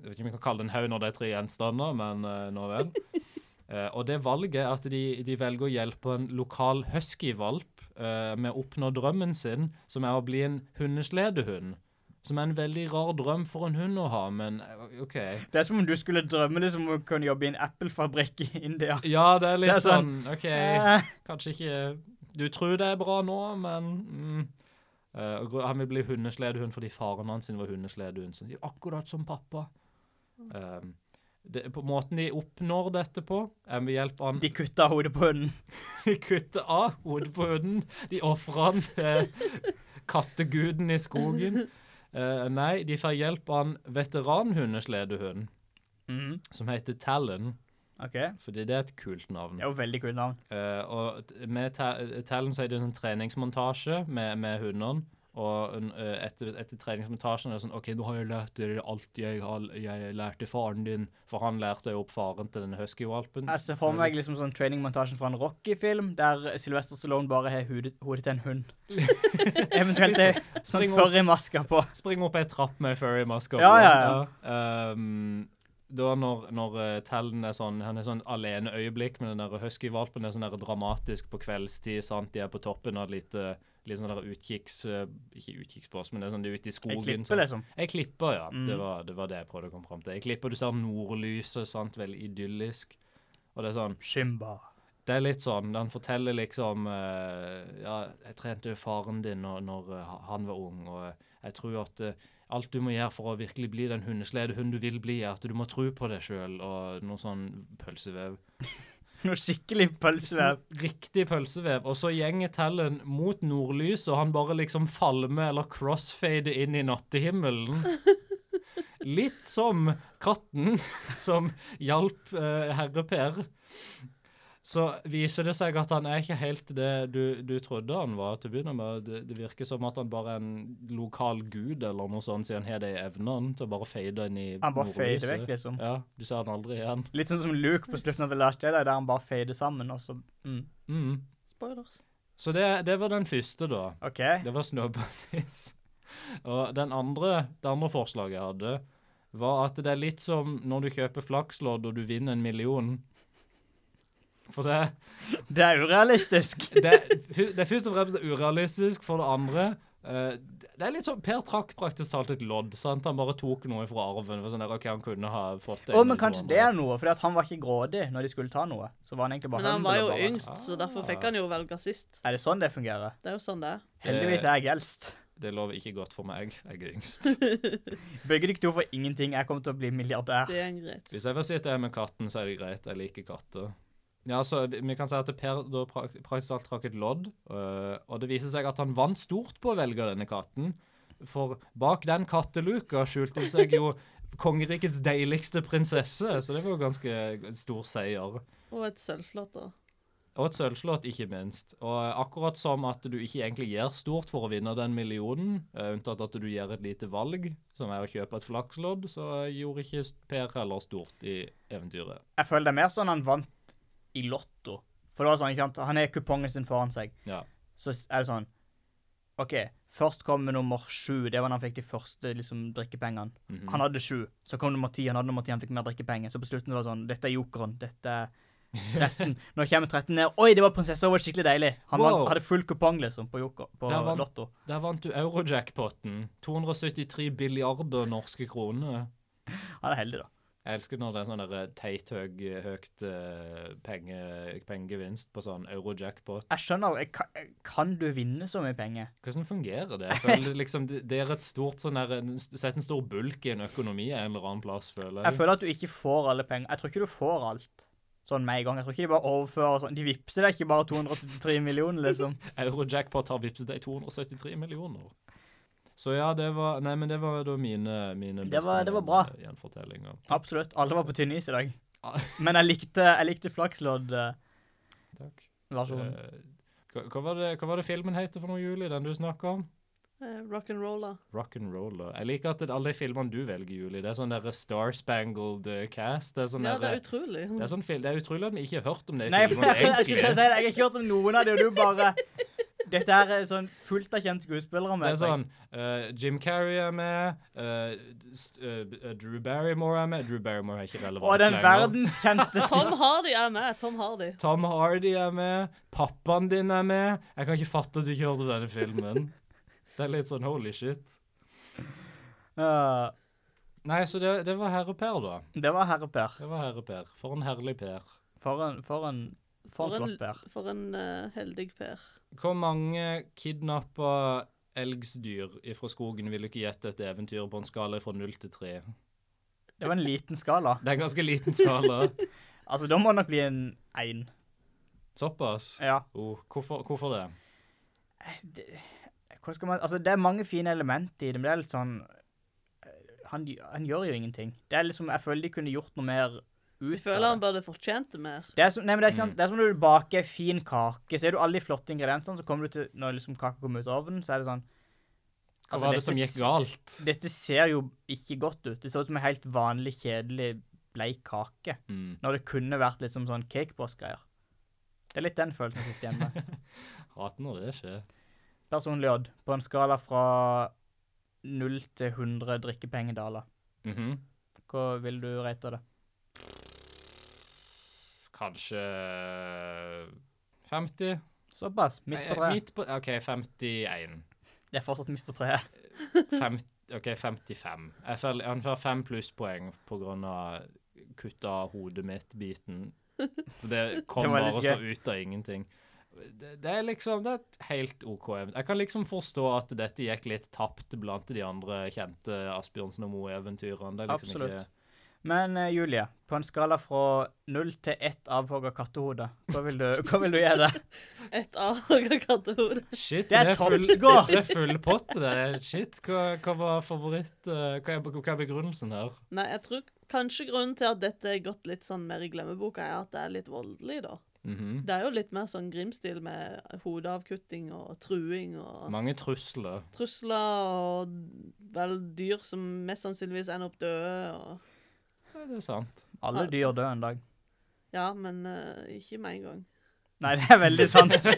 Speaker 1: Jeg vet ikke om vi kan kalle det en haug når det er tre gjenstander, men eh, nå vel. Eh, og det valget er at de, de velger å hjelpe en lokal huskyvalp eh, med å oppnå drømmen sin, som er å bli en hundesledehund. Som er en veldig rar drøm for en hund å ha, men eh, OK.
Speaker 2: Det er som om du skulle drømme liksom om å kunne jobbe i en Apple-fabrikk i India.
Speaker 1: Ja, det er litt
Speaker 2: Det er
Speaker 1: sånn,
Speaker 2: sånn,
Speaker 1: OK.
Speaker 2: Eh,
Speaker 1: Kanskje ikke Du tror det er bra nå, men mm. Eh, og Han vil bli hundesledehund fordi faren hans sin var hundesledehund. Så de, akkurat som pappa. Eh, det, på måten de oppnår dette på, er ved hjelp av
Speaker 2: De kutta hodet på hunden.
Speaker 1: De kutter av hodet på hunden. De ofrer han til katteguden i skogen. Eh, nei, de får hjelp av en veteranhundesledehund
Speaker 2: Mhm,
Speaker 1: som heter Talon,
Speaker 2: OK. Det
Speaker 1: fordi det er et kult navn.
Speaker 2: er jo veldig kult navn.
Speaker 1: Eh, og t- med te- tellen så er det en sånn treningsmontasje med, med hundene. Og en, eh, etter, etter treningsmontasjen er det sånn OK, nå har jeg lært dere alt jeg, har, jeg lærte faren din. For han lærte jo opp faren til den huskyvalpen.
Speaker 2: Jeg ser for meg liksom sånn trainingmontasjen fra en Rocky-film, der Sylvester Stallone bare har hodet, hodet til en hund. Eventuelt det er sånn
Speaker 1: Spring opp.
Speaker 2: furry-masker på.
Speaker 1: Spring opp ei trapp med furry-masker.
Speaker 2: Ja,
Speaker 1: på.
Speaker 2: ja,
Speaker 1: Ja. Ehm, da når, når eh, Tellen er sånn Han er sånn aleneøyeblikk med den der huskyvalpen. Det er sånn der dramatisk på kveldstid. sant? De er på toppen av litt, eh, litt sånn der utkikks... eh, Ikke utkikksplass, men det er sånn de er ute i skogen.
Speaker 2: Jeg klipper,
Speaker 1: sånn.
Speaker 2: liksom.
Speaker 1: Jeg klipper, ja.
Speaker 2: Mm.
Speaker 1: Det, var, det var det jeg prøvde å komme fram til. Jeg klipper, Du ser nordlyset, sant? veldig idyllisk. Og det er sånn
Speaker 2: Shimba.
Speaker 1: det er litt sånn, Han forteller liksom eh, Ja, jeg trente jo faren din når, når eh, han var ung, og eh, jeg tror at eh, alt du må gjøre for å virkelig bli den hundesledehunden du vil bli, er at du må tro på deg sjøl, og noe sånn pølsevev.
Speaker 2: Noe skikkelig pølsevev.
Speaker 1: Riktig pølsevev. Og så gjenger Tellen mot nordlyset, og han bare liksom falmer eller crossfader inn i nattehimmelen. Litt som katten som hjalp eh, herre Per. Så viser det seg at han er ikke helt det du, du trodde han var til å begynne med. Det, det virker som at han bare er en lokal gud eller noe sånt, siden han har de evnene til å bare fade inn i
Speaker 2: Han bare fader
Speaker 1: nordlyset.
Speaker 2: vekk, liksom.
Speaker 1: Ja, du ser han aldri igjen.
Speaker 2: Litt sånn som Luke på slutten av The Last Jedi, der han bare fader sammen, og så mm.
Speaker 1: Mm.
Speaker 3: Spoilers.
Speaker 1: Så det, det var den første, da.
Speaker 2: OK.
Speaker 1: Det var snøbunnies. Og den andre, det andre forslaget jeg hadde, var at det er litt som når du kjøper flakslodd og du vinner en million. For det,
Speaker 2: Det er urealistisk.
Speaker 1: det, det er først og fremst urealistisk. For det andre eh, Det er litt sånn Per trakk praktisk talt et lodd. sant? Han bare tok noe fra arven. Det var Sånn der, ok, han kunne ha fått det.
Speaker 2: Å,
Speaker 1: ene
Speaker 2: men
Speaker 1: eller
Speaker 2: kanskje det
Speaker 1: andre.
Speaker 2: er noe, fordi at han var ikke grådig når de skulle ta noe. Så var han egentlig bare
Speaker 3: Men han var jo
Speaker 2: eller bare-
Speaker 3: yngst, så derfor fikk han jo velge sist.
Speaker 2: Er det sånn det fungerer?
Speaker 3: Det er jo sånn det er.
Speaker 2: Heldigvis er jeg eldst.
Speaker 1: Det lover ikke godt for meg. Jeg er yngst.
Speaker 2: Begge dere to får ingenting. Jeg kommer til å bli milliardær.
Speaker 3: Det er greit.
Speaker 1: Hvis jeg får si at det er med katten, så er det greit. Jeg liker katter. Ja, så vi vi kan si at Per da prak- praktisk talt trakk et lodd, øh, og det viser seg at han vant stort på å velge denne katten. For bak den katteluka skjulte det seg jo kongerikets deiligste prinsesse, så det var jo ganske stor seier.
Speaker 3: Og et sølvslott, da.
Speaker 1: Og et sølvslott, ikke minst. Og akkurat som at du ikke egentlig gjør stort for å vinne den millionen, eh, unntatt at du gjør et lite valg, som er å kjøpe et flakslodd, så gjorde ikke Per heller stort i eventyret.
Speaker 2: Jeg føler det er mer sånn han vant i Lotto. For det var sånn, ikke sant? Han har kupongen sin foran seg.
Speaker 1: Ja.
Speaker 2: Så s- er det sånn OK, først kom nummer sju. Det var da han fikk de første liksom, drikkepengene.
Speaker 1: Mhm.
Speaker 2: Han hadde sju. Så kom nummer ti. Han hadde nummer ti, han fikk mer drikkepenger. Så på slutten var det sånn Dette er jokeren. Dette er 13. Nå kommer 13 ned. Oi, det var prinsessa. Hun var skikkelig deilig. Han
Speaker 1: Wow.
Speaker 2: vant- hadde full kupong, liksom, på, joker, på
Speaker 1: Der vant-
Speaker 2: Lotto.
Speaker 1: Der vant du eurojackpoten. 273 billiarder norske kroner.
Speaker 2: Han er heldig, da.
Speaker 1: Jeg elsker når det er sånn der teit høg, høgt eh, penge, pengegevinst på sånn eurojackpot.
Speaker 2: Jeg skjønner jeg, kan- Kan du vinne så mye penger?
Speaker 1: Hvordan fungerer det? Jeg føler liksom det det er et stort sånn der, en- Sett en stor bulk i en økonomi en eller annen plass, føler
Speaker 2: Jeg
Speaker 1: jeg.
Speaker 2: føler at du ikke får alle penger. Jeg tror ikke du får alt sånn med en gang. Jeg tror ikke de bare overfører sånn. De vippser deg ikke bare 283 millioner, liksom.
Speaker 1: Eurojackpot har vippset deg 273 millioner. Så ja, det var Nei, men det var da mine, mine
Speaker 2: Det var- det var bra.
Speaker 1: gjenfortellinger.
Speaker 2: Absolutt. Alle var på tynn is i dag.
Speaker 1: Ja.
Speaker 2: Men jeg likte, jeg likte flakslodd-versjonen.
Speaker 1: Takk. Eh, hva, hva, var det, hva var det filmen heter for noe, Julie? Den du snakka om?
Speaker 3: Eh, Rock'n'roller.
Speaker 1: Rock'n'roller. Jeg liker at det- alle de filmene du velger, Julie, det er sånn derre Star Spangled eh, Cast. Det er sånn
Speaker 3: Ja, det
Speaker 1: derre-
Speaker 3: er utrolig.
Speaker 1: det er sånn fil- det er utrolig at vi ikke har hørt om det i
Speaker 2: Nei, for
Speaker 1: filmen,
Speaker 2: jeg, jeg skulle til å si
Speaker 1: egentlig.
Speaker 2: det. Jeg har ikke hørt om noen av de, og du bare Dette her er sånn fullt av kjente skuespillere
Speaker 1: Det
Speaker 2: med
Speaker 1: er
Speaker 2: seg.
Speaker 1: sånn eh, Jim Carrey er med, eh, st- eh, Drew Barrymore er med Drew Barrymore er ikke relevant
Speaker 2: Og den
Speaker 1: lenger.
Speaker 2: verdenskjente
Speaker 3: Tom Hardy er med. Tom Hardy.
Speaker 1: Tom Hardy er med. Pappaen din er med. Jeg kan ikke fatte at du ikke hørte om denne filmen. Det er litt sånn holy shit.
Speaker 2: uh,
Speaker 1: Nei, så det, det var herre-Per, da.
Speaker 2: Det var herre Per.
Speaker 1: Det var herre-Per. For en herlig Per.
Speaker 2: For en, for en, for en flott Per.
Speaker 3: For en eh, heldig Per.
Speaker 1: Hvor mange kidnappa elgsdyr fra skogen ville ikke gjette et eventyr på en skala fra null til tre?
Speaker 2: Det var en liten skala.
Speaker 1: Det er en ganske liten skala.
Speaker 2: Altså, da må det nok bli en én.
Speaker 1: Såpass?
Speaker 2: Ja.
Speaker 1: Oh, hvorfor, hvorfor det?
Speaker 2: det, hvordan skal man, altså det er mange fine elementer i det, men det er litt sånn eh, Han, gj- han gjør jo ingenting. Det er liksom, Jeg føler de kunne gjort noe mer
Speaker 3: Du
Speaker 2: ut
Speaker 3: føler
Speaker 2: av det.
Speaker 3: han burde fortjent det mer.
Speaker 2: Det er, som, nei, men det, er ikke sant,
Speaker 1: Mm.
Speaker 2: det er som når du baker en fin kake, så er du alle de flotte ingrediensene, så kommer du til Når liksom kaka kommer ut av ovnen, så er det sånn
Speaker 1: Hva
Speaker 2: Altså,
Speaker 1: var det
Speaker 2: dette
Speaker 1: som
Speaker 2: s-
Speaker 1: gikk galt?
Speaker 2: Dette ser jo ikke godt ut. Det ser ut som en helt vanlig, kjedelig bleik kake.
Speaker 1: Mm.
Speaker 2: Når det kunne vært litt som sånn cakeboss-greier. Det er litt den følelsen jeg sitter igjen med.
Speaker 1: Hater når det skjer.
Speaker 2: Personlig odd, på en skala fra 0 til 100 drikkepengedaler,
Speaker 1: Mhm.
Speaker 2: hva vil du rate det?
Speaker 1: Kanskje 50?
Speaker 2: Såpass, midt
Speaker 1: Nei,
Speaker 2: på treet.
Speaker 1: Midt på, OK, 51.
Speaker 2: Det er fortsatt eh, midt på treet.
Speaker 1: Fem, OK, 55. Jeg får, han får fem plusspoeng på grunn av kutta hodet mitt-biten. For det kom
Speaker 2: Det var litt
Speaker 1: bare så ut av ingenting. Det, det er liksom det er et helt OK event. Jeg kan liksom forstå at dette gikk litt tapt blant de andre kjente Asbjørnsen og Moe-eventyrene. Det er liksom
Speaker 2: Absolutt.
Speaker 1: ikke
Speaker 2: Men eh, Julie, på en skala fra 0 til 1 avhogga kattehode, hva vil du, hva vil du gi det?
Speaker 3: Et aga kattehode.
Speaker 1: Shit,
Speaker 2: Det er toppscore!
Speaker 1: Det er full pott, det. er- Shit, hva, hva var favoritt... eh, Hva er, hva er begrunnelsen her?
Speaker 3: Nei, jeg tror kanskje grunnen til at dette er gått litt sånn mer i glemmeboka, er at det er litt voldelig, da.
Speaker 1: Mhm.
Speaker 3: Det er jo litt mer sånn Grim-stil med hodeavkutting og truing og
Speaker 1: Mange trusler.
Speaker 3: trusler og vel dyr som mest sannsynligvis ender opp døde. Og,
Speaker 1: Ja, det er sant.
Speaker 2: Alle dyr dør en dag.
Speaker 3: ja, men eh, ikke med en gang.
Speaker 2: Nei, det er veldig sant.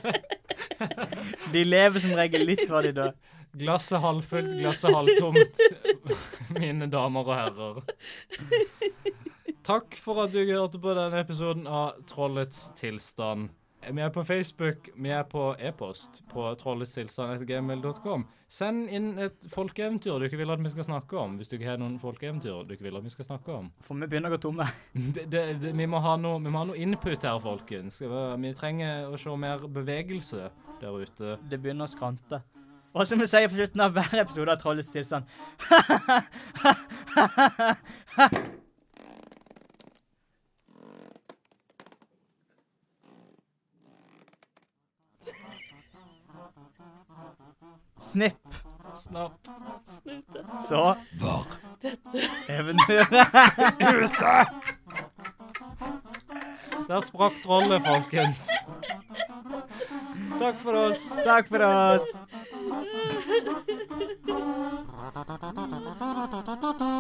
Speaker 2: De lever som regel litt før de dør.
Speaker 1: Glasset halvfullt, glasset halvtomt, mine damer og herrer. Takk for at du hørte på denne episoden av Trollets tilstand. Vi er på Facebook, vi er på e-post på trolletstilstand.gmail.com. Send inn et folkeeventyr du ikke vil at vi skal snakke om, hvis du ikke har noen folkeeventyr du ikke vil at vi skal snakke om.
Speaker 2: For vi begynner å gå tomme.
Speaker 1: Det, det, det, vi, må ha noe, vi må ha noe input her, folkens. Skal Vi vi trenger å se mer bevegelse der ute.
Speaker 2: Det begynner å skrante. Og som vi sier på slutten av hver episode av Trollets tilstand Snipp.
Speaker 1: Snart.
Speaker 2: Så
Speaker 7: Var
Speaker 2: eventyret.
Speaker 1: Der sprakk trollet, folkens. Takk for oss.
Speaker 2: Takk for oss.
Speaker 8: Thank